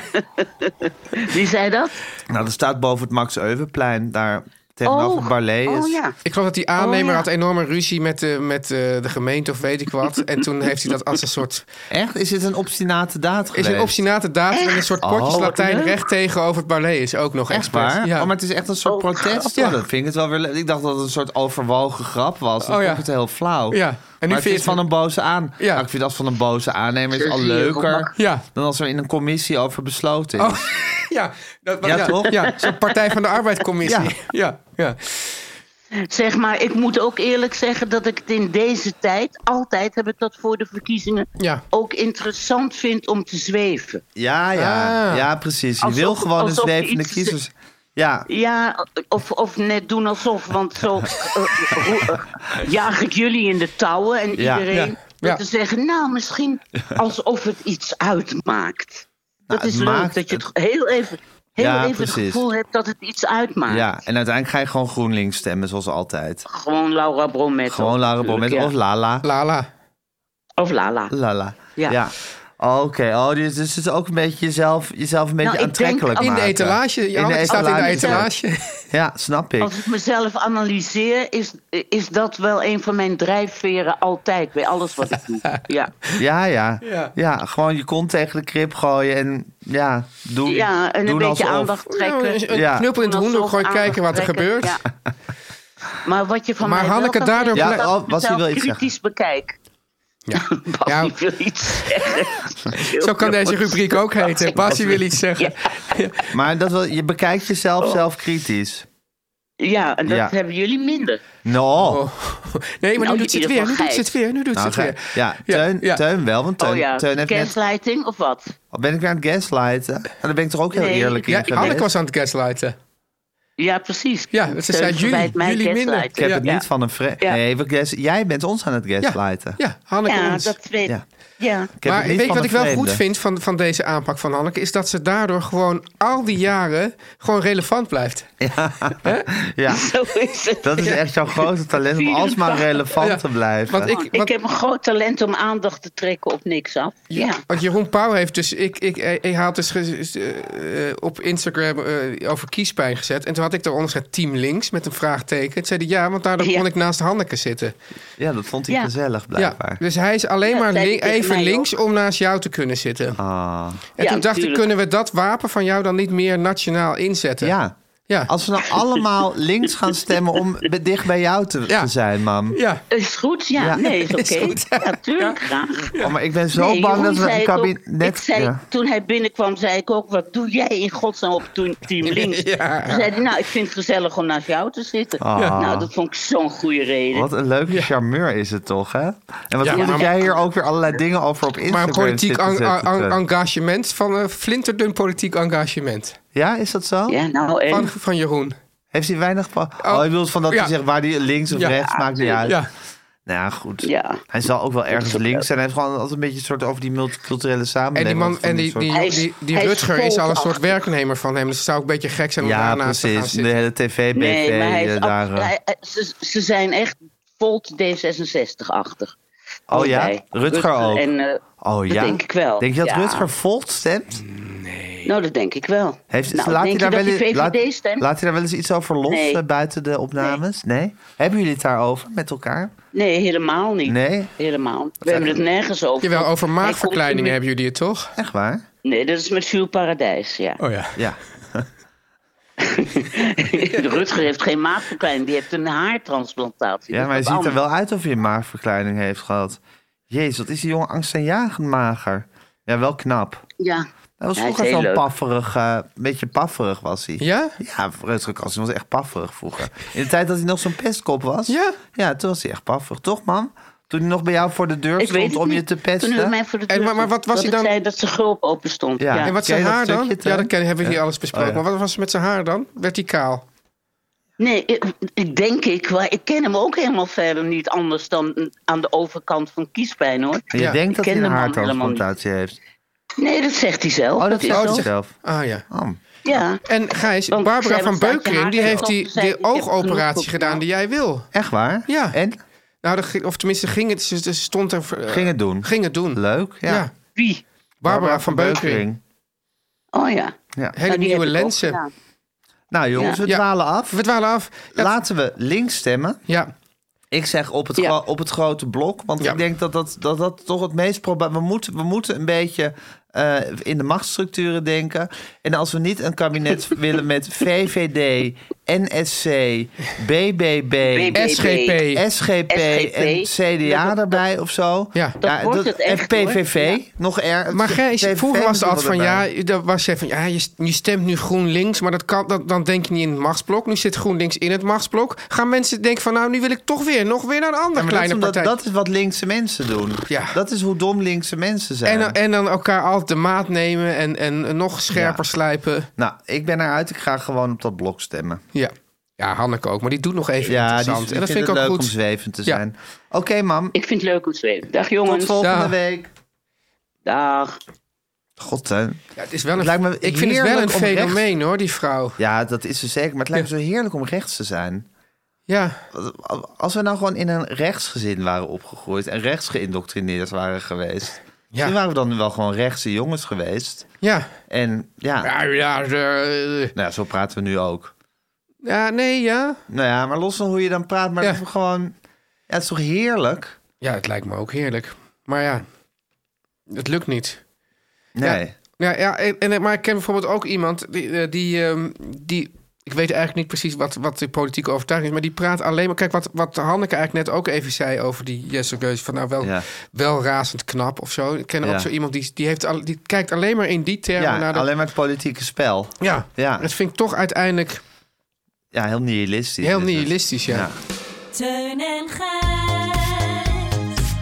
Wie zei dat?
Nou, dat staat boven het Max Euberplein. Daar tegenover
Oh,
Barlé is...
oh ja.
Ik geloof dat die aannemer
Oh, ja.
had enorme ruzie met, de, met eh, de gemeente of weet ik wat. En toen heeft hij dat als een soort...
Echt? Is dit een obstinate daad
Is
geweest?
een obstinate datum en een soort potjes
Oh, wat
Latijn
leuk.
recht tegenover het ballet is ook nog
Echt
expres.
waar?
Ja.
Oh, maar het is echt een soort
Oh,
protest.
grappig.
Ja. Dat vind ik het wel weer leuk. Ik dacht dat het een soort overwogen grap was. Dan
Oh, ja.
vond ik het heel flauw.
Ja. En nu
En nu
vind
vind
je
je
het-
van een boze aan.
Ja.
Ja. ik vind dat van een boze aannemer is al
Zie je,
leuker
Robert.
Ja.
dan als er in een commissie over besloten is.
Oh, ja, dat,
Ja, toch?
Ja, zo'n Partij van de Arbeidcommissie. Ja.
Ja.
Ja, ja.
Zeg maar, ik moet ook eerlijk zeggen dat ik het in deze tijd, altijd heb ik dat voor de verkiezingen,
Ja.
ook interessant vind om te zweven.
Ja, ja.
Ah.
Ja, precies. Je
Alsof-
wil gewoon een
alsof je
zwevende
iets-
kiezers. Ja.
Ja, of, of net doen alsof, want zo eh, ro- eh, jaag ik jullie in de touwen en
Ja,
iedereen
ja,
door
ja.
te zeggen, nou misschien alsof het iets uitmaakt. Dat
Nou,
is
het
leuk,
maakt
dat je het heel even, heel
Ja,
even het
precies.
gevoel hebt dat het iets uitmaakt.
ja, en uiteindelijk ga je gewoon GroenLinks stemmen, zoals altijd.
Gewoon Laura Bromet.
Gewoon Lara Bomet
natuurlijk,
of Lala.
Lala.
ja. Of Lala.
Lala.
Ja.
Ja. Oké, oh, dus, dus het is ook een beetje jezelf, jezelf een beetje
Nou, ik denk
aantrekkelijk
als-
In de
maken.
etalage. Ja, het staat in de etalage.
Ja, snap ik.
Als ik mezelf analyseer, is, is dat wel een van mijn drijfveren altijd bij alles wat ik doe. Ja,
Ja, ja.
Ja.
ja. gewoon je kont tegen de krip gooien en ja, doe
ja en een
doen
beetje
alsof.
aandacht trekken.
Nou, Een
Ja.
knuppel in het
Alsof
hoenderhoek gooien,
aandacht
kijken wat er
trekken,
gebeurt.
ja. Maar wat je van
Maar
mij
Hanneke,
wel kan
daardoor
zeggen, is
blij-
dat
Oh,
ik
was hij
mezelf
wil iets
kritisch bekijk.
Ja.
Bas,
Ja.
die wil iets zeggen.
Zo kan deze rubriek ook heten. Basie wil iets zeggen.
Maar dat wel, je bekijkt jezelf
Oh.
zelfkritisch.
Ja, en dat
Ja.
hebben jullie minder.
Nou,
Oh. Nee, maar
Nou,
nu doet ze
in
het
ieder
weer.
geval
Nu doet ze
geit.
het weer. Nu doet ze
nou,
het
ga-
weer.
ja, Teun,
ja.
Teun wel, want Teun,
oh ja,
Teun heeft net...
gaslighting of wat?
Oh, Ben ik weer aan het gaslighten? En daar ben ik toch ook heel
Nee.
eerlijk in
Ja,
geweest?
Anneke was aan het gaslighten.
Ja, precies.
Ja, ze
Teun
zei jullie,
verwijt mij
jullie minder.
gaslighten.
Ik heb
Ja.
het niet van een vriend.
Ja.
Nee, we gas- jij bent ons aan het gaslighten.
Ja, Hanneke
Ja,
ons.
dat weet ik.
Ja.
Ja.
Ik heb
maar
het niet
weet je
van een
wat ik wel goed
vreemde.
vind van, van deze aanpak van Hanneke? Is dat ze daardoor gewoon al die jaren gewoon relevant blijft.
Ja,
Zo is het.
dat is echt jouw grote talent om alsmaar relevant
Ja,
te blijven.
Want, ik,
Ik
want,
heb een groot talent om aandacht te trekken op niks af. Ja.
want Jeroen Pauw heeft dus... Ik, ik, hij hij had dus ge- eh, eh, op Instagram eh, over kiespijn gezet. En toen had ik daaronder gezet team links met een vraagteken. Toen zei hij ja, want daardoor
Ja.
kon ik naast Hanneke zitten.
Ja, dat vond hij
Ja.
gezellig
Ja,
blijkbaar.
dus hij is alleen
Ja,
maar
zei hij
link-
tegen
even
mij
links om naast jou te kunnen zitten.
Ah.
En
Ja,
toen dacht ik,
tuurlijk.
kunnen we dat wapen van jou dan niet meer nationaal inzetten?
Ja.
Ja.
Als we nou allemaal links gaan stemmen om be- dicht bij jou te,
Ja.
te zijn, mam.
Ja.
Is goed, ja.
Ja.
Nee, is oké.
goed.
Ja, tuurlijk, graag.
Oh, maar ik ben zo
Nee,
bang
Jeroen
dat we
zei
een
ik ook-
kabinet...
ik zei,
Ja.
Toen hij binnenkwam, zei ik ook: Wat doe jij in godsnaam op toen- Team Links?
Ja.
Toen zei hij: Nou, ik vind het gezellig om naast jou te zitten.
Ah.
Nou, dat vond ik zo'n goede reden.
Wat een leuke charmeur is het toch, hè? En wat
Ja,
goed dat
maar-
jij hier ook weer allerlei dingen over op
Maar
Instagram
een politiek
zit te
en-
zetten,
en-
Teun.
engagement van een flinterdun politiek engagement.
Ja, is dat zo?
Ja, nou, en
Van, van Jeroen.
Heeft hij weinig... pa- Oh, je bedoelt van dat
ja.
hij zegt waar hij links of
Ja.
rechts maakt niet uit.
Ja.
Nou ja, goed.
Ja.
Hij zal ook wel ergens links zijn. Hij heeft gewoon altijd een beetje een soort over die multiculturele
En
samenleving.
die man,
van
en die,
soort-
die, die,
Hij is-
die,
hij is
Rutger is al een soort
volgachtig.
werknemer van hem. Dus het zou ook een beetje gek zijn om
ja,
daarnaast te gaan
precies. De
zitten.
hele tv-BV.
nee, maar hij is ab-
daar, eh.
hij- hij- ze, ze zijn echt volt D66-achtig.
Oh ja? Rutger ook?
En, eh,
oh
dat
ja?
denk ik wel.
Denk je dat
Ja.
Rutger Volt stemt?
Nou, dat denk ik wel.
Heeft,
nou,
laat, hij
denk je
daar
dat
wel
die
eens- laat,
VVD stemt?
laat hij daar wel eens iets over los
Nee.
eh, buiten de opnames? Nee. Hebben jullie het daarover met elkaar?
Nee, helemaal niet.
Nee?
Helemaal. We hebben het nergens over.
Jawel, over
Hij komt
maagverkleiningen
in-
hebben jullie het toch?
Echt waar?
Nee, dat is met Jules Paradijs, ja.
Oh ja.
Ja.
Rutger heeft geen maagverkleining, die heeft een haartransplantatie.
Ja,
Dat
maar hij
is
ziet er
anders.
wel uit of hij een maagverkleining heeft gehad. Jezus, wat is die jongen angstaanjagend mager. Ja, wel knap.
Ja.
Hij was
Hij is
vroeger
heel
zo'n
leuk.
pafferig, eh, een beetje pafferig was hij.
Ja?
Ja, Rutger Kasten was echt pafferig vroeger. In de tijd dat hij nog zo'n pestkop was.
Ja?
Ja, toen was hij echt pafferig. Toch, man? Toen hij nog bij jou voor de deur
Ik weet
stond
het
om je
niet.
te
Toen hij
pesten.
mij voor de
En
deur
maar- maar
stond,
wat was
dat
hij
ik
dan-
zei dat zijn gulp open stond.
Ja.
Ja.
En wat
Ken je
zijn
dat
haar dan?
stukje,
Ja,
Teun?
dat ken- hebben we hier
Ja.
alles besproken.
Oh ja.
Maar wat was er met zijn haar dan? Werd hij kaal?
Nee, ik, ik denk ik, maar ik ken hem ook helemaal verder niet anders dan aan de overkant van kiespijn hoor.
En je
Ja.
denkt dat
Ik
hij
ken
een
de man helemaal niet.
haartransplantatie heeft.
Nee, dat zegt hij zelf.
Oh, dat
is
is
zo.
hij zelf.
Ah ja.
Oh.
Ja.
En Gijs,
Want
Barbara
zij
van
was uit je
Beukering, die
haar
heeft die,
gekocht, zei,
die
ik heb genoeg
oogoperatie
op-
gedaan die jij wil.
Echt waar?
Ja.
En?
Nou, dat ging- of tenminste, ging het, ze- ze stond er... eh,
Ging het doen.
Ging het doen.
Leuk, ja.
Ja.
Barbara
Wie?
Barbara van Beukering.
Oh ja.
Ja.
Hele
Nou, die
nieuwe
heb ik ook
lenzen.
gedaan.
Nou jongens,
Ja.
we
Ja.
dwalen af.
We dwalen af. Ja,
Laten we links stemmen.
ja.
Ik zeg op het,
Ja.
gro- op het grote blok. Want
Ja.
ik denk dat dat, dat dat toch het meest probleem... We moeten, we moeten een beetje eh, in de machtsstructuren denken. En als we niet een kabinet willen met VVD, NSC, BBB...
BBB.
SGP.
SGP, en
SGP.
CDA erbij of zo.
Ja.
Dat wordt het
en
echt, hoor.
PVV nog er.
Maar Gijs,
PVV
vroeger was het
moet
altijd
er
van ja,
erbij.
dat was je van ja, je, je stemt nu GroenLinks, maar dat kan, dat, dan denk je niet in het machtsblok. Nu zit GroenLinks in het machtsblok. Gaan mensen denken van nou, nu wil ik toch weer, nog weer naar een andere
Ja, maar dat, is
kleine
omdat-
partij.
dat is wat linkse mensen doen.
Ja.
Dat is hoe dom linkse mensen zijn.
en, eh, dan- en dan elkaar altijd de maat nemen en, en nog scherper
Ja.
slijpen.
Nou, ik ben eruit. Ik ga gewoon op dat blok stemmen.
Ja. ja, Hanneke ook, maar die doet nog even
Ja, die,
interessant.
ik
en dat vind ik
het
ook
leuk
goed.
om zwevend te
Ja.
zijn. Oké, mam.
Ik vind het leuk om te weten. Dag
Tot
jongens.
volgende
Dag.
week.
Dag.
God, Teun.
Ja, het is wel een,
Het lijkt me
ik vind het wel een
heerlijk om rechts-
fenomeen hoor, die vrouw.
Ja, dat is ze zeker. Maar het lijkt me zo heerlijk om rechts te zijn.
Ja,
Als we nou gewoon in een rechtsgezin waren opgegroeid... en rechts geïndoctrineerd waren geweest...
Ja.
Die waren we dan wel gewoon rechtse jongens geweest.
Ja.
En ja,
Ja, ja, eh,
Nou, ja, zo praten we nu ook.
ja, nee, ja.
Nou ja, maar los van hoe je dan praat, maar
Ja.
dat we gewoon... Ja, het is toch heerlijk?
Ja, het lijkt me ook heerlijk. Maar ja, het lukt niet.
Nee.
Ja, ja en, en- maar ik ken bijvoorbeeld ook iemand die, eh, die, ehm, die... Ik weet eigenlijk niet precies wat, wat de politieke overtuiging is... maar die praat alleen maar... Kijk, wat, wat Hanneke eigenlijk net ook even zei over die Jesse Geus... van nou, wel,
Ja.
wel razend knap of zo. Ik ken
Ja.
ook zo iemand die, die, heeft al, die kijkt alleen maar nou, in die termen
Ja,
naar de...
alleen maar het politieke spel.
Ja,
Ja.
dat vind ik toch uiteindelijk
Ja, heel nihilistisch.
heel
is het.
nihilistisch, ja.
Ja.
Teun en Gijs.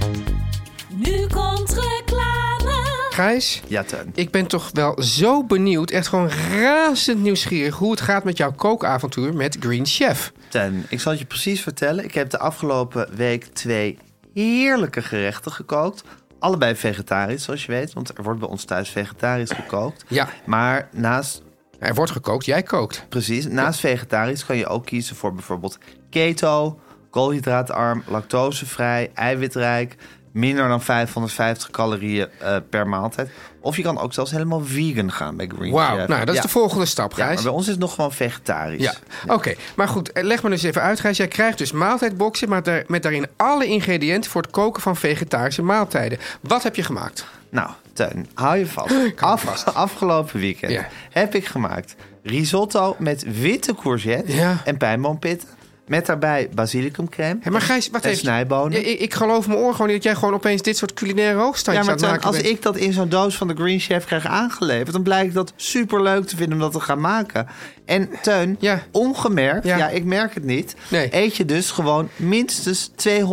Nu komt reclame.
Gijs,
Ja, Teun.
ik ben toch wel zo benieuwd... echt gewoon razend nieuwsgierig... hoe het gaat met jouw kookavontuur met Green Chef.
Teun, ik zal het je precies vertellen. Ik heb de afgelopen week twee heerlijke gerechten gekookt. Allebei vegetarisch, zoals je weet. Want er wordt bij ons thuis vegetarisch gekookt.
Ja.
Maar naast,
Er wordt gekookt, jij kookt.
precies, naast vegetarisch kan je ook kiezen voor bijvoorbeeld keto, koolhydraatarm, lactosevrij, eiwitrijk, minder dan 550 calorieën eh, per maaltijd. Of je kan ook zelfs helemaal vegan gaan bij Green
Wauw,
Chef.
nou, dat is
Ja.
de volgende stap,
Ja,
Gijs.
maar bij ons is het nog gewoon vegetarisch.
Ja, oké. Maar goed, eh, leg me dus even uit, Gijs. Jij krijgt dus maaltijdboxen, maar daar, met daarin alle ingrediënten voor het koken van vegetarische maaltijden. Wat heb je gemaakt?
Nou, Teun, hou je vast.
hou
Af-
me vast.
Afgelopen weekend
Ja.
heb ik gemaakt risotto met witte courgette
Ja.
en pijnboompitten. Met daarbij basilicumcrème.
Hé, maar Gijs, wat
En
heeft...
snijbonen.
Ja, ik, ik geloof mijn oor gewoon niet dat jij gewoon opeens dit soort culinaire
Ja,
hoogstandjes
maar
aan het
Teun,
maken
als
bent.
ik dat in zo'n doos van de Green Chef krijg aangeleverd... dan blijkt dat superleuk te vinden om dat te gaan maken. En Teun,
Ja.
ongemerkt, ja.
Ja.
ik merk het niet...
Nee.
eet je dus gewoon minstens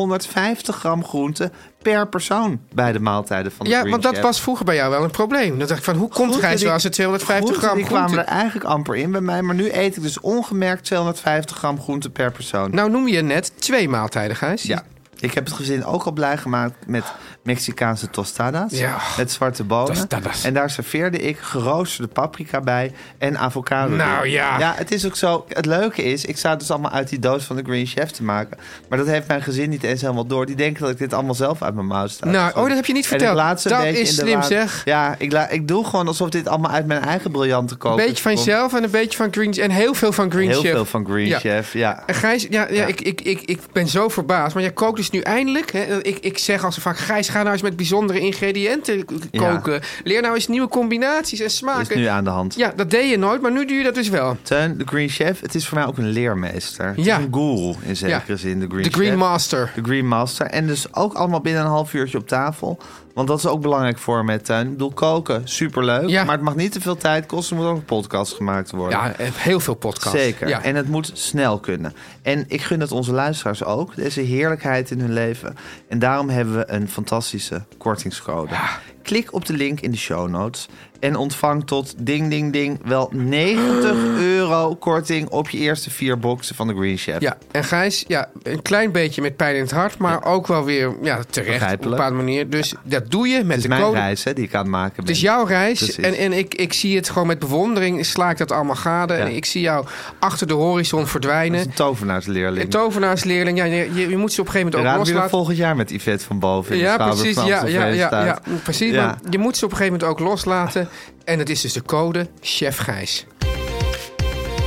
250 gram groente per persoon... bij de maaltijden van de
Ja,
Green
want dat
Chef.
was vroeger bij jou wel een probleem. Dan dacht ik van, hoe komt Gijs wel als het 250 gram
Die kwamen er
groente...
eigenlijk amper in bij mij. Maar nu eet ik dus ongemerkt 250 gram groente per persoon.
Nou noem je net twee maaltijden, Gijs.
ja. Ik heb het gezin ook al blij gemaakt met Mexicaanse tostadas.
Ja.
Met zwarte bonen.
Tostadas.
En daar serveerde ik geroosterde paprika bij en avocado.
Nou
door.
ja.
Ja, het is ook zo. Het leuke is, ik sta het dus allemaal uit die doos van de Green Chef te maken. Maar dat heeft mijn gezin niet eens helemaal door. Die denken dat ik dit allemaal zelf uit mijn mouw sta.
Nou, oh, dat heb je niet
En ik
verteld.
laat ze een
Dat
beetje
is
in de
slim,
waan.
zeg.
Ja, ik, la- ik doe gewoon alsof dit allemaal uit mijn eigen briljante
Een
koken
beetje van jezelf en een beetje van Green... En heel veel van Green
Heel
Chef.
veel van Green
Ja.
Chef, ja.
En Gijs, ja, ja, Ik, ik, ik, ik ben zo verbaasd. Maar jij kookt dus nu eindelijk. Hè, ik, ik zeg als vaak, Gijs, ga nou eens met bijzondere ingrediënten k-
Ja.
koken. Leer nou eens nieuwe combinaties en
Dat
smaken.
is nu aan de hand.
Ja, dat deed je nooit, maar nu doe je dat dus wel.
Teun, de Green Chef, het is voor mij ook een leermeester. Het
Ja.
is een guru in zekere
Ja.
zin, de Green
De Green
Chef.
Master.
De Green Master. En dus ook allemaal binnen een half uurtje op tafel. Want dat is ook belangrijk voor me, Teun. Ik bedoel, koken, superleuk.
Ja.
Maar het mag niet te veel tijd kosten. Er moet ook een podcast gemaakt worden.
Ja, eh, heel veel podcasts.
Zeker.
Ja.
En het moet snel kunnen. En ik gun het onze luisteraars ook. Deze heerlijkheid in hun leven. En daarom hebben we een fantastische kortingscode. Klik op de link in de show notes. En ontvang tot ding ding ding wel 90 euro korting op je eerste vier boxen van de Green Chef.
Ja, en Gijs, ja, een klein beetje met pijn in het hart, maar ook wel weer ja, terecht op een
Begrijpelijk.
bepaalde manier. Dus dat doe je met
Het is
de
mijn
code.
reis hè, die ik aan het maken ben.
Het is jouw reis
Precies.
en, en ik, ik zie het gewoon met bewondering. Sla ik dat allemaal gade en
Ja.
ik zie jou achter de horizon
Dat
verdwijnen.
is een tovenaarsleerling.
Een tovenaarsleerling, ja, je, je- je moet ze op een gegeven
Raad
moment ook
weer
loslaten.
volgend jaar met Yvette van boven. in de
Ja,
Schouwburg
precies.
van
Ja, ja,
Amstelveen
ja, ja, Nou,
staat.
precies.
Ja.
Maar je moet ze op een gegeven moment ook loslaten. En dat is dus de code Chef Gijs.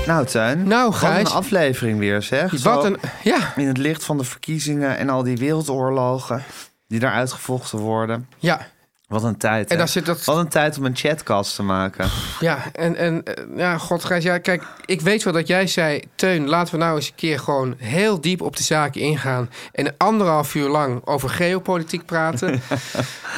Nou, Tuin.
Nou,
Wat een
Gijs.
aflevering weer, zeg.
Wat
Zo-
een. Ja,
in het licht van de verkiezingen en al die wereldoorlogen die daar uitgevochten worden.
ja.
Wat een tijd.
En
hè?
daar zit dat-
Wat een tijd om een chatcast te maken.
Ja, en, en eh, ja, God, Gijs, ja, kijk, ik weet wel dat jij zei... Teun, laten we nou eens een keer gewoon heel diep op de zaken ingaan... en anderhalf uur lang over geopolitiek praten.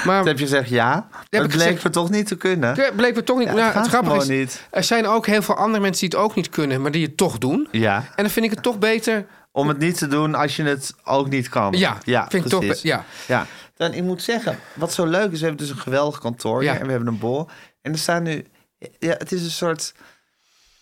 maar
Toen heb je gezegd ja. Dat
ik
bleek
gezegd-
we toch niet te kunnen.
ja, bleek we toch niet...
Ja, het
nou, het
gaat
grappige is,
gewoon niet.
er zijn ook heel veel andere mensen die het ook niet kunnen... maar die het toch doen.
Ja.
En dan vind ik het toch beter...
Om het niet te doen als je het ook niet kan.
Ja, vind ik toch
precies.
be- ja.
ja. Dan, ik moet zeggen, wat zo leuk is, we hebben dus een geweldig kantoor
Ja.
en we hebben een bol. En er staan nu, ja, het is een soort,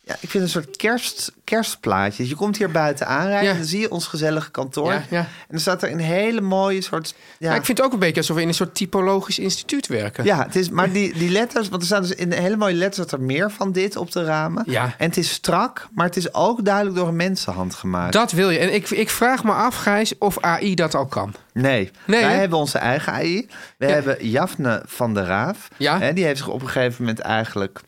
Ja, ik vind het een soort kerst, kerstplaatje. Je komt hier buiten aanrijden,
Ja.
dan zie je ons gezellige kantoor.
Ja, ja.
En dan staat er een hele mooie soort... Ja,
Maar ik vind het ook een beetje alsof we in een soort typologisch instituut werken.
ja het is, maar die, die letters, want er staan dus in hele mooie letters dat er meer van dit op de ramen.
Ja.
En het is strak, maar het is ook duidelijk door een mensenhand gemaakt.
Dat wil je. En ik, ik vraag me af, Gijs, of AI dat al kan.
Nee,
Nee,
wij
hè?
hebben onze eigen AI. We
Ja.
hebben Jafne van der Raaf.
Ja.
Hè, die heeft zich op een gegeven moment eigenlijk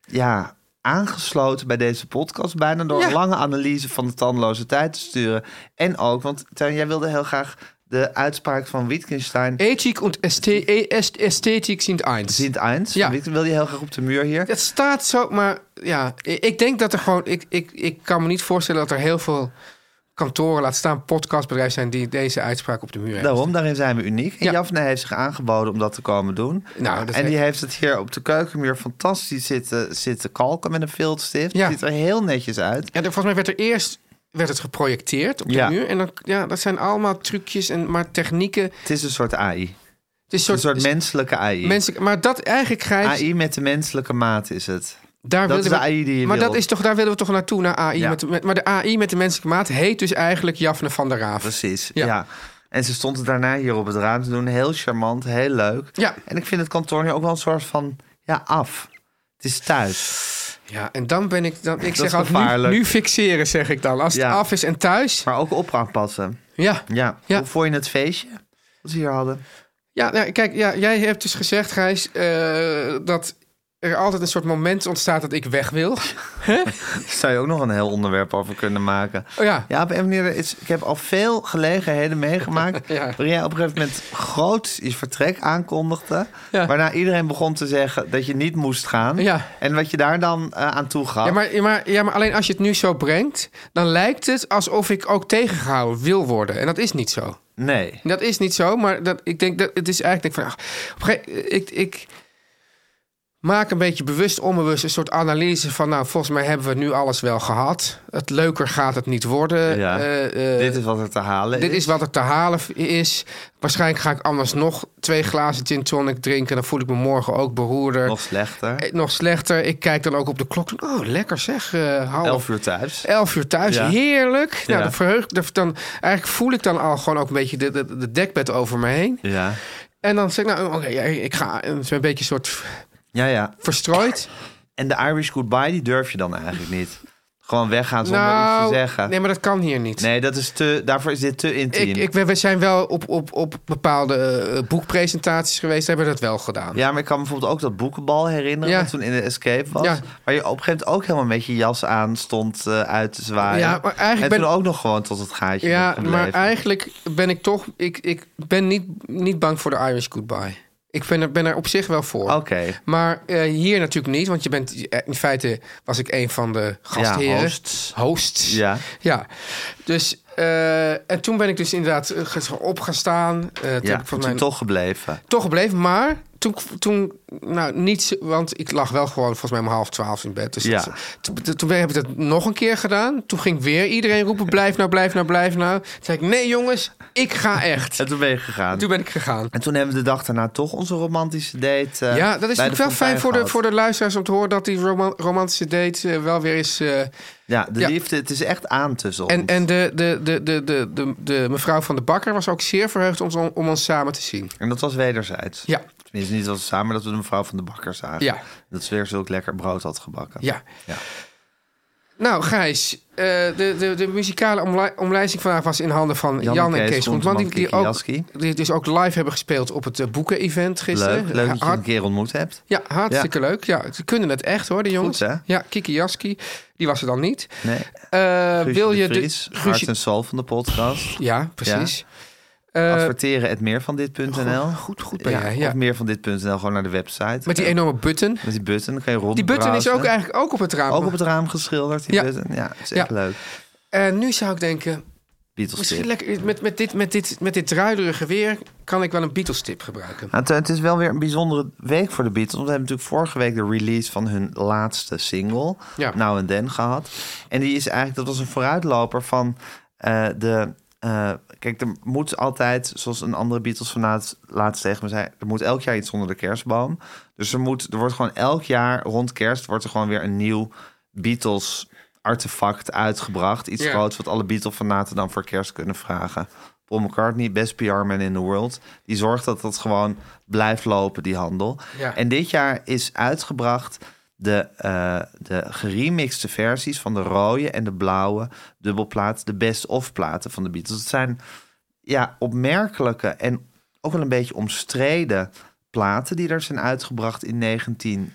ja, aangesloten bij deze podcast. Bijna door
Ja.
een lange analyse van de tandeloze tijd te sturen. En ook, want Tuin, jij wilde heel graag de uitspraak van Wittgenstein...
Ethiek en Ästhe- e- est- esthetiek sind eins.
Sint Eins.
Ja.
Witt- Wil je heel graag op de muur hier?
Het staat zo, maar ja, i- ik denk dat er gewoon... Ik, ik, ik kan me niet voorstellen dat er heel veel kantoren, laat staan podcastbedrijven zijn... die deze uitspraak op de muur hebben.
Daarom, daarin zijn we uniek. En
Ja.
Jafne heeft zich aangeboden om dat te komen doen.
Nou, dat
en die
he-
heeft het hier op de keukenmuur fantastisch zitten, zitten kalken met een viltstift.
Ja.
Ziet er heel netjes uit.
Ja, er- volgens mij werd er eerst werd het geprojecteerd op de
Ja.
muur. En dan, ja, dat zijn allemaal trucjes en maar technieken. Het
Het is een soort AI.
is
Een soort menselijke AI.
mensen, maar dat eigenlijk Gijs,
AI met de menselijke maat is het.
daar
dat
wilden
is de AI die je
Maar
wil.
dat is toch, daar willen we toch naartoe naar AI.
Ja.
Met, de- met- maar de AI met de menselijke maat heet dus eigenlijk Jafne van der Raaf.
Precies, ja.
Ja.
En ze stond daarna hier op het raam te doen. Heel charmant, heel leuk.
Ja.
En ik vind het kantoor nu ook wel een soort van, ja, af. Het is thuis.
Ja, en dan ben ik dan. Ik
is
zeg altijd nu,
gevaarlijk.
nu fixeren, zeg ik dan. Als
Ja.
het af is en thuis.
Maar ook op aanpassen.
Ja.
Ja.
Ja.
Hoe vond je het feestje? Wat ze hier hadden.
Ja, nou, kijk, ja, jij hebt dus gezegd, Gijs, eh, dat er altijd een soort moment ontstaat dat ik weg wil.
Daar zou je ook nog een heel onderwerp over kunnen maken.
Oh ja.
Ja, op een manier is, ik heb al veel gelegenheden meegemaakt.
Ja.
waarin jij op een gegeven moment groot je vertrek aankondigde.
Ja.
Waarna iedereen begon te zeggen dat je niet moest gaan.
Ja.
En wat je daar dan eh, aan toe gaf.
Ja maar, ja, maar, ja, maar alleen als je het nu zo brengt, dan lijkt het alsof ik ook tegengehouden wil worden. En dat is niet zo.
Nee.
Dat is niet zo, maar dat, ik denk dat het is eigenlijk. Denk ik van, ach, op een gege- ik, ik maak een beetje bewust, onbewust een soort analyse van. Nou, volgens mij hebben we nu alles wel gehad. Het leuker gaat het niet worden.
Ja.
Eh, eh,
dit is wat er te halen
dit is wat er te halen is. Waarschijnlijk ga ik anders nog twee glazen gin tonic drinken. Dan voel ik me morgen ook beroerder.
Nog slechter.
Eh, nog slechter. Ik kijk dan ook op de klok. Oh, lekker zeg. eh half
Elf uur thuis.
11 uur thuis,
Ja.
heerlijk. Nou,
Ja.
dan verheug, dan- dan, eigenlijk voel ik dan al gewoon ook een beetje de, de, de dekbed over me heen.
Ja.
En dan zeg ik, nou, oké, ja, ik ga en het is een beetje een soort
Ja, ja.
verstrooid.
En de Irish goodbye, die durf je dan eigenlijk niet. Gewoon weggaan zonder iets
nou,
te zeggen.
nee,
Nee,
maar dat kan hier niet.
dat is te, daarvoor is dit te intiem.
ik, ik, we we zijn wel op, op, op bepaalde eh, boekpresentaties geweest, hebben we dat wel gedaan.
Ja, maar ik kan me bijvoorbeeld ook dat boekenbal herinneren.
Ja.
wat toen in de escape was.
Ja.
Waar je op een gegeven moment ook helemaal met je jas aan stond eh, uit te zwaaien.
Ja, maar eigenlijk
en
ben-
toen ook nog gewoon tot het gaatje
Ja,
bent gebleven.
maar eigenlijk ben ik toch, ik, ik ben niet, niet bang voor de Irish goodbye. Ik ben er, ben er op zich wel voor.
Oké.
Maar eh, hier natuurlijk niet, want je bent eh, in feite was ik een van de gastheren.
Ja, hosts.
Hosts.
Ja.
Ja. Dus eh, en toen ben ik dus inderdaad eh, ge- op gaan staan. Eh, toen
Ja,
heb ik
toen
volgens mij
toch gebleven.
toch gebleven, maar toen, toen nou niet, want ik lag wel gewoon volgens mij om half twaalf in bed. Dus
Ja.
dat- toen, toen- toen heb ik dat nog een keer gedaan. Toen ging weer iedereen roepen: blijf nou, blijf nou, blijf nou. Toen zei ik: nee jongens, ik ga echt.
En toen ben je gegaan.
Toen ben ik gegaan.
En toen hebben we de dag daarna toch onze romantische date. eh,
Ja, dat
bij
is natuurlijk wel
de fontein
fijn voor de,
gehad.
voor de luisteraars om te horen dat die roman- romantische date eh, wel weer is. eh,
Ja, de
Ja.
liefde, het is echt aan tussen
en
ons.
en de, de, de, de, de, de, de mevrouw van de bakker was ook zeer verheugd om, ons- om ons samen te zien.
En dat was wederzijds.
Ja.
Tenminste, niet dat we samen, maar dat we de mevrouw van de bakker zagen.
Ja.
Dat ze weer zulk lekker brood had gebakken.
Ja.
Ja.
Nou, Gijs, eh, de, de, de muzikale omlei- omlijsting vandaag was in handen van Jan, en Kees, Groenteman. Die, die, ook,
Kiki
die dus ook live hebben gespeeld op het eh, boeken-event gisteren.
Leuk, leuk dat je
Hart-
een keer ontmoet hebt.
ja, hartstikke leuk. Ja, ze kunnen het echt hoor, de jongens.
Goed, hè?
Ja, Kiki Jaski, die was er dan niet.
Nee.
Eh,
Guusje
wil je
de
de-
Vries,
Guusje-
hart en soul van de podcast.
Ja, precies. Eh,
Adverteren het meer van dit.nl.
goed, goed ben jij,
Of
ja.
meer van dit.nl, gewoon naar de website.
Met die
Ja.
enorme button.
Met die button, dan kan je rond.
Die button is ook eigenlijk ook op het raam.
Ook op het raam geschilderd, die
Ja.
button. Ja, het is echt
Ja.
leuk.
En nu zou ik denken,
Beatles
misschien
tip.
lekker met, met, dit, met, dit, met dit druiderige weer kan ik wel een Beatles-tip gebruiken.
Nou, Teun, het is wel weer een bijzondere week voor de Beatles. Want we hebben natuurlijk vorige week de release van hun laatste single,
Ja.
Now and Then, gehad. En die is eigenlijk, dat was een vooruitloper van eh, de. eh, kijk, er moet altijd, zoals een andere Beatles van laatst tegen me zei, er moet elk jaar iets onder de kerstboom. Dus er, moet, er wordt gewoon elk jaar rond kerst, wordt er gewoon weer een nieuw Beatles artefact uitgebracht. Iets
Ja.
groots wat alle Beatles fanaten dan voor kerst kunnen vragen. Paul McCartney, best PR-man in the world. Die zorgt dat dat gewoon blijft lopen, die handel.
Ja.
En dit jaar is uitgebracht de, eh, de geremixte versies van de rode en de blauwe dubbelplaat. De best-of platen van de Beatles. Het zijn ja, opmerkelijke en ook wel een beetje omstreden platen die er zijn uitgebracht in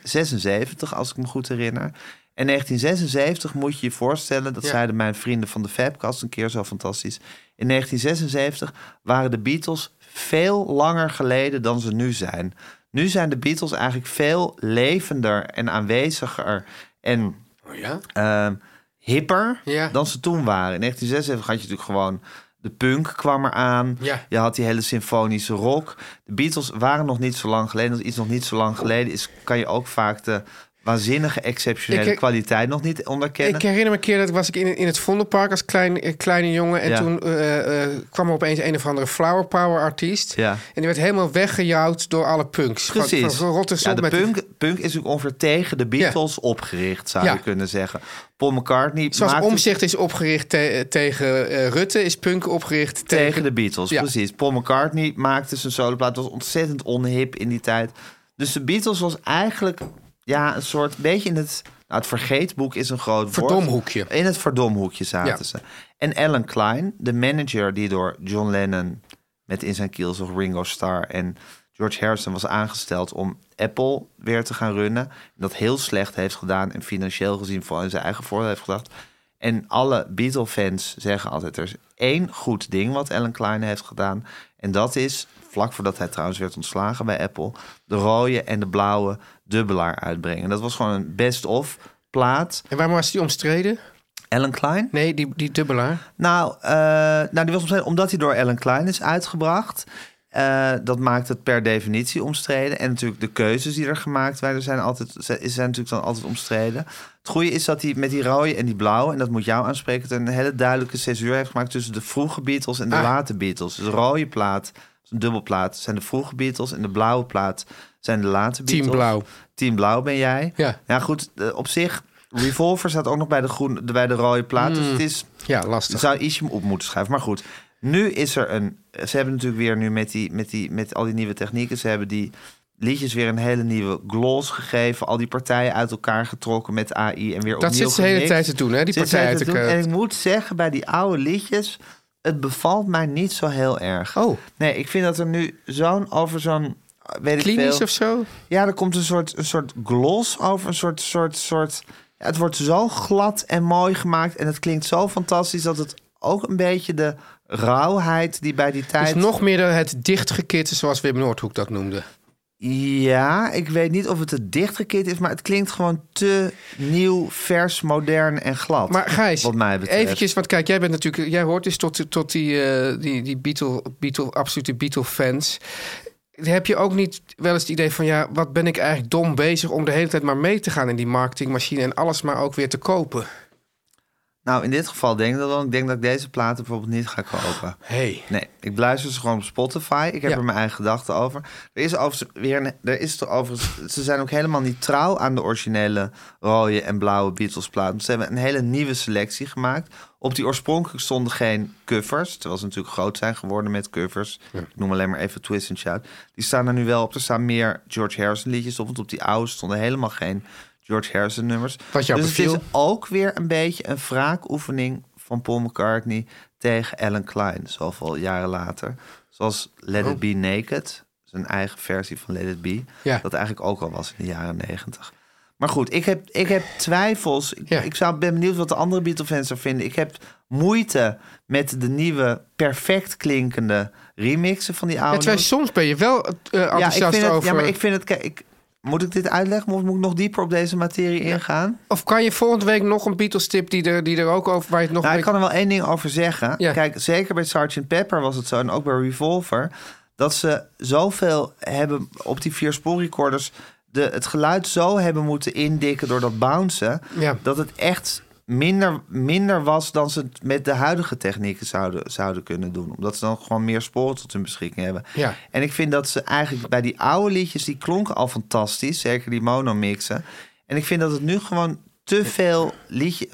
1976, als ik me goed herinner. En 1976 moet je je voorstellen, dat
Ja.
zeiden mijn vrienden van de Fabcast een keer zo fantastisch. In 1976 waren de Beatles veel langer geleden dan ze nu zijn. Nu zijn de Beatles eigenlijk veel levender en aanweziger en
Oh ja?
ehm, hipper
Ja.
dan ze toen waren. In 1976 had je natuurlijk gewoon... De punk kwam eraan.
Ja.
Je had die hele symfonische rock. De Beatles waren nog niet zo lang geleden. Als iets nog niet zo lang geleden is... kan je ook vaak de waanzinnige, exceptionele
Ik-
kwaliteit nog niet onderkennen.
Ik herinner me een keer dat was ik in, in het Vondelpark als klein, eh, kleine jongen. En
Ja.
toen eh, eh, kwam er opeens een of andere flower power artiest.
Ja.
En die werd helemaal weggejouwd door alle punks. Van- Van,
Precies.
van rotte
ja,
sop
de
met die-
punk, punk is natuurlijk ongeveer tegen de Beatles opgericht, zou
Ja.
je kunnen zeggen. Paul McCartney
Zoals
maakte
Omzicht is opgericht te- tegen eh, Rutte, is punk opgericht tegen...
tegen de Beatles,
Ja.
precies. Paul McCartney maakte zijn soloplaat, was ontzettend onhip in die tijd. Dus de Beatles was eigenlijk ja, een soort, beetje in het... Nou, het vergeetboek is een groot woord.
Verdomhoekje.
In het verdomhoekje zaten
Ja.
ze. En Alan Klein, de manager die door John Lennon... met in zijn kielzog Ringo Starr en George Harrison was aangesteld... om Apple weer te gaan runnen. En dat heel slecht heeft gedaan en financieel gezien... vooral in zijn eigen voordeel heeft gedacht. En alle Beatle-fans zeggen altijd... er is één goed ding wat Alan Klein heeft gedaan. En dat is, vlak voordat hij trouwens werd ontslagen bij Apple... de rode en de blauwe dubbelaar uitbrengen. Dat was gewoon een best-of plaat...
En waarom was die omstreden?
Alan Klein?
Nee, die, die dubbelaar.
Nou, eh, nou die was omstreden omdat hij door Alan Klein is uitgebracht. Eh, dat maakt het per definitie omstreden. En natuurlijk de keuzes die er gemaakt werden zijn, altijd, zijn, zijn natuurlijk dan altijd omstreden. Het goede is dat hij met die rode en die blauwe, en dat moet jou aanspreken, een hele duidelijke césuur heeft gemaakt tussen de vroege Beatles
Ah.
en de late Beatles. Dus de rode plaat, een dubbelplaat, zijn de vroege Beatles en de blauwe plaat zijn de late Beatles.
Team blauw.
Team Blauw ben jij.
Ja.
Ja, goed, eh, op zich. Revolver staat ook nog bij de, groen, bij de rode plaat.
Hmm.
Dus het is.
Ja, lastig.
Zou ietsje hem op moeten schuiven. Maar goed, nu is er een. Ze hebben natuurlijk weer nu met, die, met, die, met al die nieuwe technieken. Ze hebben die liedjes weer een hele nieuwe gloss gegeven. Al die partijen uit elkaar getrokken met AI. En weer
Dat
opnieuw
zit ze de hele
gemixt.
tijd te doen, hè, die
Zit ze de hele
partijen
tijd
uit
te doen.
elkaar.
En ik moet zeggen, bij die oude liedjes. Het bevalt mij niet zo heel erg.
Oh.
Nee, ik vind dat er nu zo'n over zo'n. Weet ik
Klinisch
veel,
of zo?
ja, er komt een soort, een soort gloss over. Een soort, soort, soort. ja, het wordt zo glad en mooi gemaakt. En het klinkt zo fantastisch dat het ook een beetje de rauwheid die bij die tijd.
Dus nog meer dan het dichtgekitten, zoals Wim Noordhoek dat noemde.
Ja, ik weet niet of het het dichtgekit is, maar het klinkt gewoon te nieuw, vers, modern en glad.
Maar Gijs,
wat mij betreft.
eventjes, want kijk, jij bent natuurlijk, jij hoort dus tot, tot die, eh, die, die Beatle, Beatle, absolute Beatle-fans. Heb je ook niet wel eens het idee van, ja, wat ben ik eigenlijk dom bezig om de hele tijd maar mee te gaan in die marketingmachine en alles maar ook weer te kopen?
Nou, in dit geval denk ik dat wel. Ik denk dat ik deze platen bijvoorbeeld niet ga kopen.
Hey.
Nee, ik luister ze gewoon op Spotify. Ik heb
Ja.
er mijn eigen gedachten over. Er is, overigens weer een, er is er overigens... Ze zijn ook helemaal niet trouw aan de originele rode en blauwe Beatles-platen. Ze hebben een hele nieuwe selectie gemaakt. Op die oorspronkelijk stonden geen covers. Terwijl ze natuurlijk groot zijn geworden met covers. Ik noem alleen maar even Twist and Shout. Die staan er nu wel op. Er staan meer George Harrison-liedjes op. Want op die oude stonden helemaal geen George Harrison-nummers.
Wat jou
dus
beviel?
het is ook weer een beetje een wraakoefening van Paul McCartney tegen Alan Klein, zoveel jaren later. Zoals Let It Be Naked, zijn eigen versie van Let It Be,
Oh. Ja.
dat eigenlijk ook al was in de jaren negentig. Maar goed, ik heb, ik heb twijfels. Ik-
Ja.
Ik zou, ben benieuwd wat de andere Beatle-fans er vinden. Ik heb moeite met de nieuwe, perfect klinkende remixen van die oude.
Ja, terwijl
nummers.
soms ben je wel eh,
Nou, Ja, ik
enthousiast
vind het,
over...
ja, maar ik vind het... Kijk, ik, moet ik dit uitleggen of moet ik nog dieper op deze materie ingaan?
Of kan je volgende week nog een Beatles-tip die er, die er ook over... Waar je het nog
Nou, ik
mee-
kan er wel één ding over zeggen.
Ja.
Kijk, zeker bij Sgt. Pepper was het zo en ook bij Revolver... dat ze zoveel hebben op die vier spoorrecorders... De, het geluid zo hebben moeten indikken door dat bouncen...
Ja.
dat het echt minder, minder was dan ze het met de huidige technieken zouden, zouden kunnen doen. Omdat ze dan gewoon meer sporen tot hun beschikking hebben.
Ja.
En ik vind dat ze eigenlijk bij die oude liedjes... die klonken al fantastisch, zeker die monomixen. En ik vind dat het nu gewoon te veel liedje,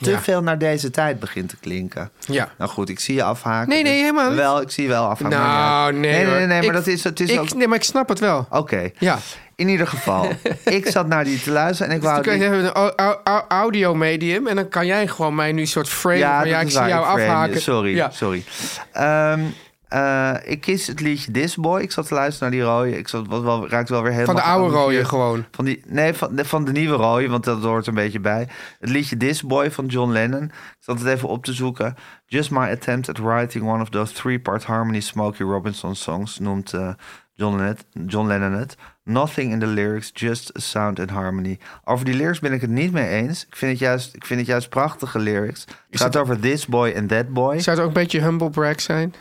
te
Ja.
veel naar deze tijd begint te klinken.
Ja.
Nou goed, ik zie je afhaken.
Nee, nee,
dus-
helemaal niet.
Wel, ik zie je wel afhaken. maar
Nou,
ja. Nee,
nee.
nee, nee,
hoor.
nee, maar
Ik-
dat is, dat is
ik,
ook...
Nee, maar ik snap het wel.
Oké.
Ja.
In ieder geval, ik zat naar die te luisteren en ik
Dus Dan
wou...
kun
Nou, die-
je hebben een au- au- au- audiomedium en dan kan jij gewoon mij nu een soort frame van ja,
dat
ik
is
zie
waar,
jou
frame je.
afhaken.
Sorry,
Ja.
sorry. Ehm, eh, ik kies het liedje This Boy. Ik zat te luisteren naar die rode. Ik zat, was wel, raakte wel weer helemaal...
Van de oude rode
geamuseerd.
gewoon.
Van die, nee, van de, van de nieuwe rode, want dat hoort een beetje bij. Het liedje This Boy van John Lennon. Ik zat het even op te zoeken. Just my attempt at writing one of those three-part harmony Smokey Robinson songs... noemt eh, John, Lennon, John Lennon het. Nothing in the lyrics, just a sound and harmony. Over die lyrics ben ik het niet mee eens. Ik vind het juist, ik vind het juist prachtige lyrics. Het gaat over this boy and that boy.
Zou het ook een beetje humble brag zijn?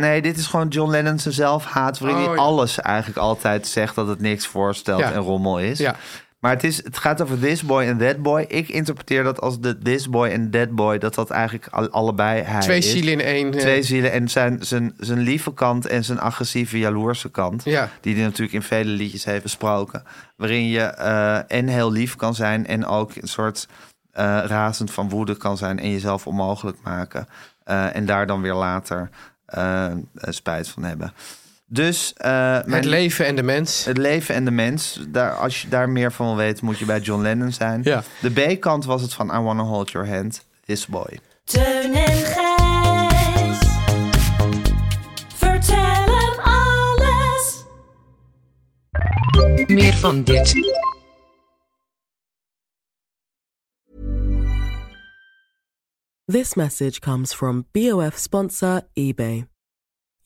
Nee, dit is gewoon John Lennon zijn zelfhaat... waarin
Oh,
hij
ja.
alles eigenlijk altijd zegt dat het niks voorstelt
Ja.
en rommel is.
Ja.
Maar het, is, het gaat over this boy en that boy. Ik interpreteer dat als de this boy en that boy... dat dat eigenlijk al- allebei hij
Twee
is.
zielen in één. eh,
Twee zielen en zijn, zijn, zijn lieve kant en zijn agressieve, jaloerse kant.
Ja.
Die hij natuurlijk in vele liedjes heeft besproken. Waarin je eh, en heel lief kan zijn en ook een soort eh, razend van woede kan zijn. En jezelf onmogelijk maken. Eh, en daar dan weer later eh, eh, spijt van hebben. Dus eh,
het
mijn-
leven en de mens.
het leven en de mens. Daar, als je daar meer van wil weten, moet je bij John Lennon zijn.
Ja.
De B-kant was het van I Wanna Hold Your Hand, This Boy.
Teun en Gijs. Vertel hem alles.
Meer van dit.
This message comes from BOF sponsor eBay.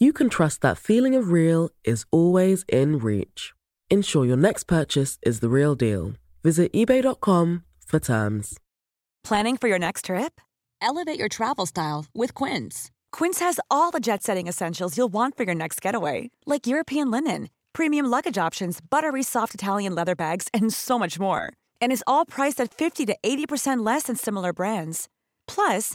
you can trust that feeling of real is always in reach. Ensure your next purchase is the real deal. Visit eBay.com for terms.
Planning for your next trip? Elevate your travel style with Quince. Quince has all the jet setting essentials you'll want for your next getaway, like European linen, premium luggage options, buttery soft Italian leather bags, and so much more. And is all priced at 50 to 80% less than similar brands. Plus,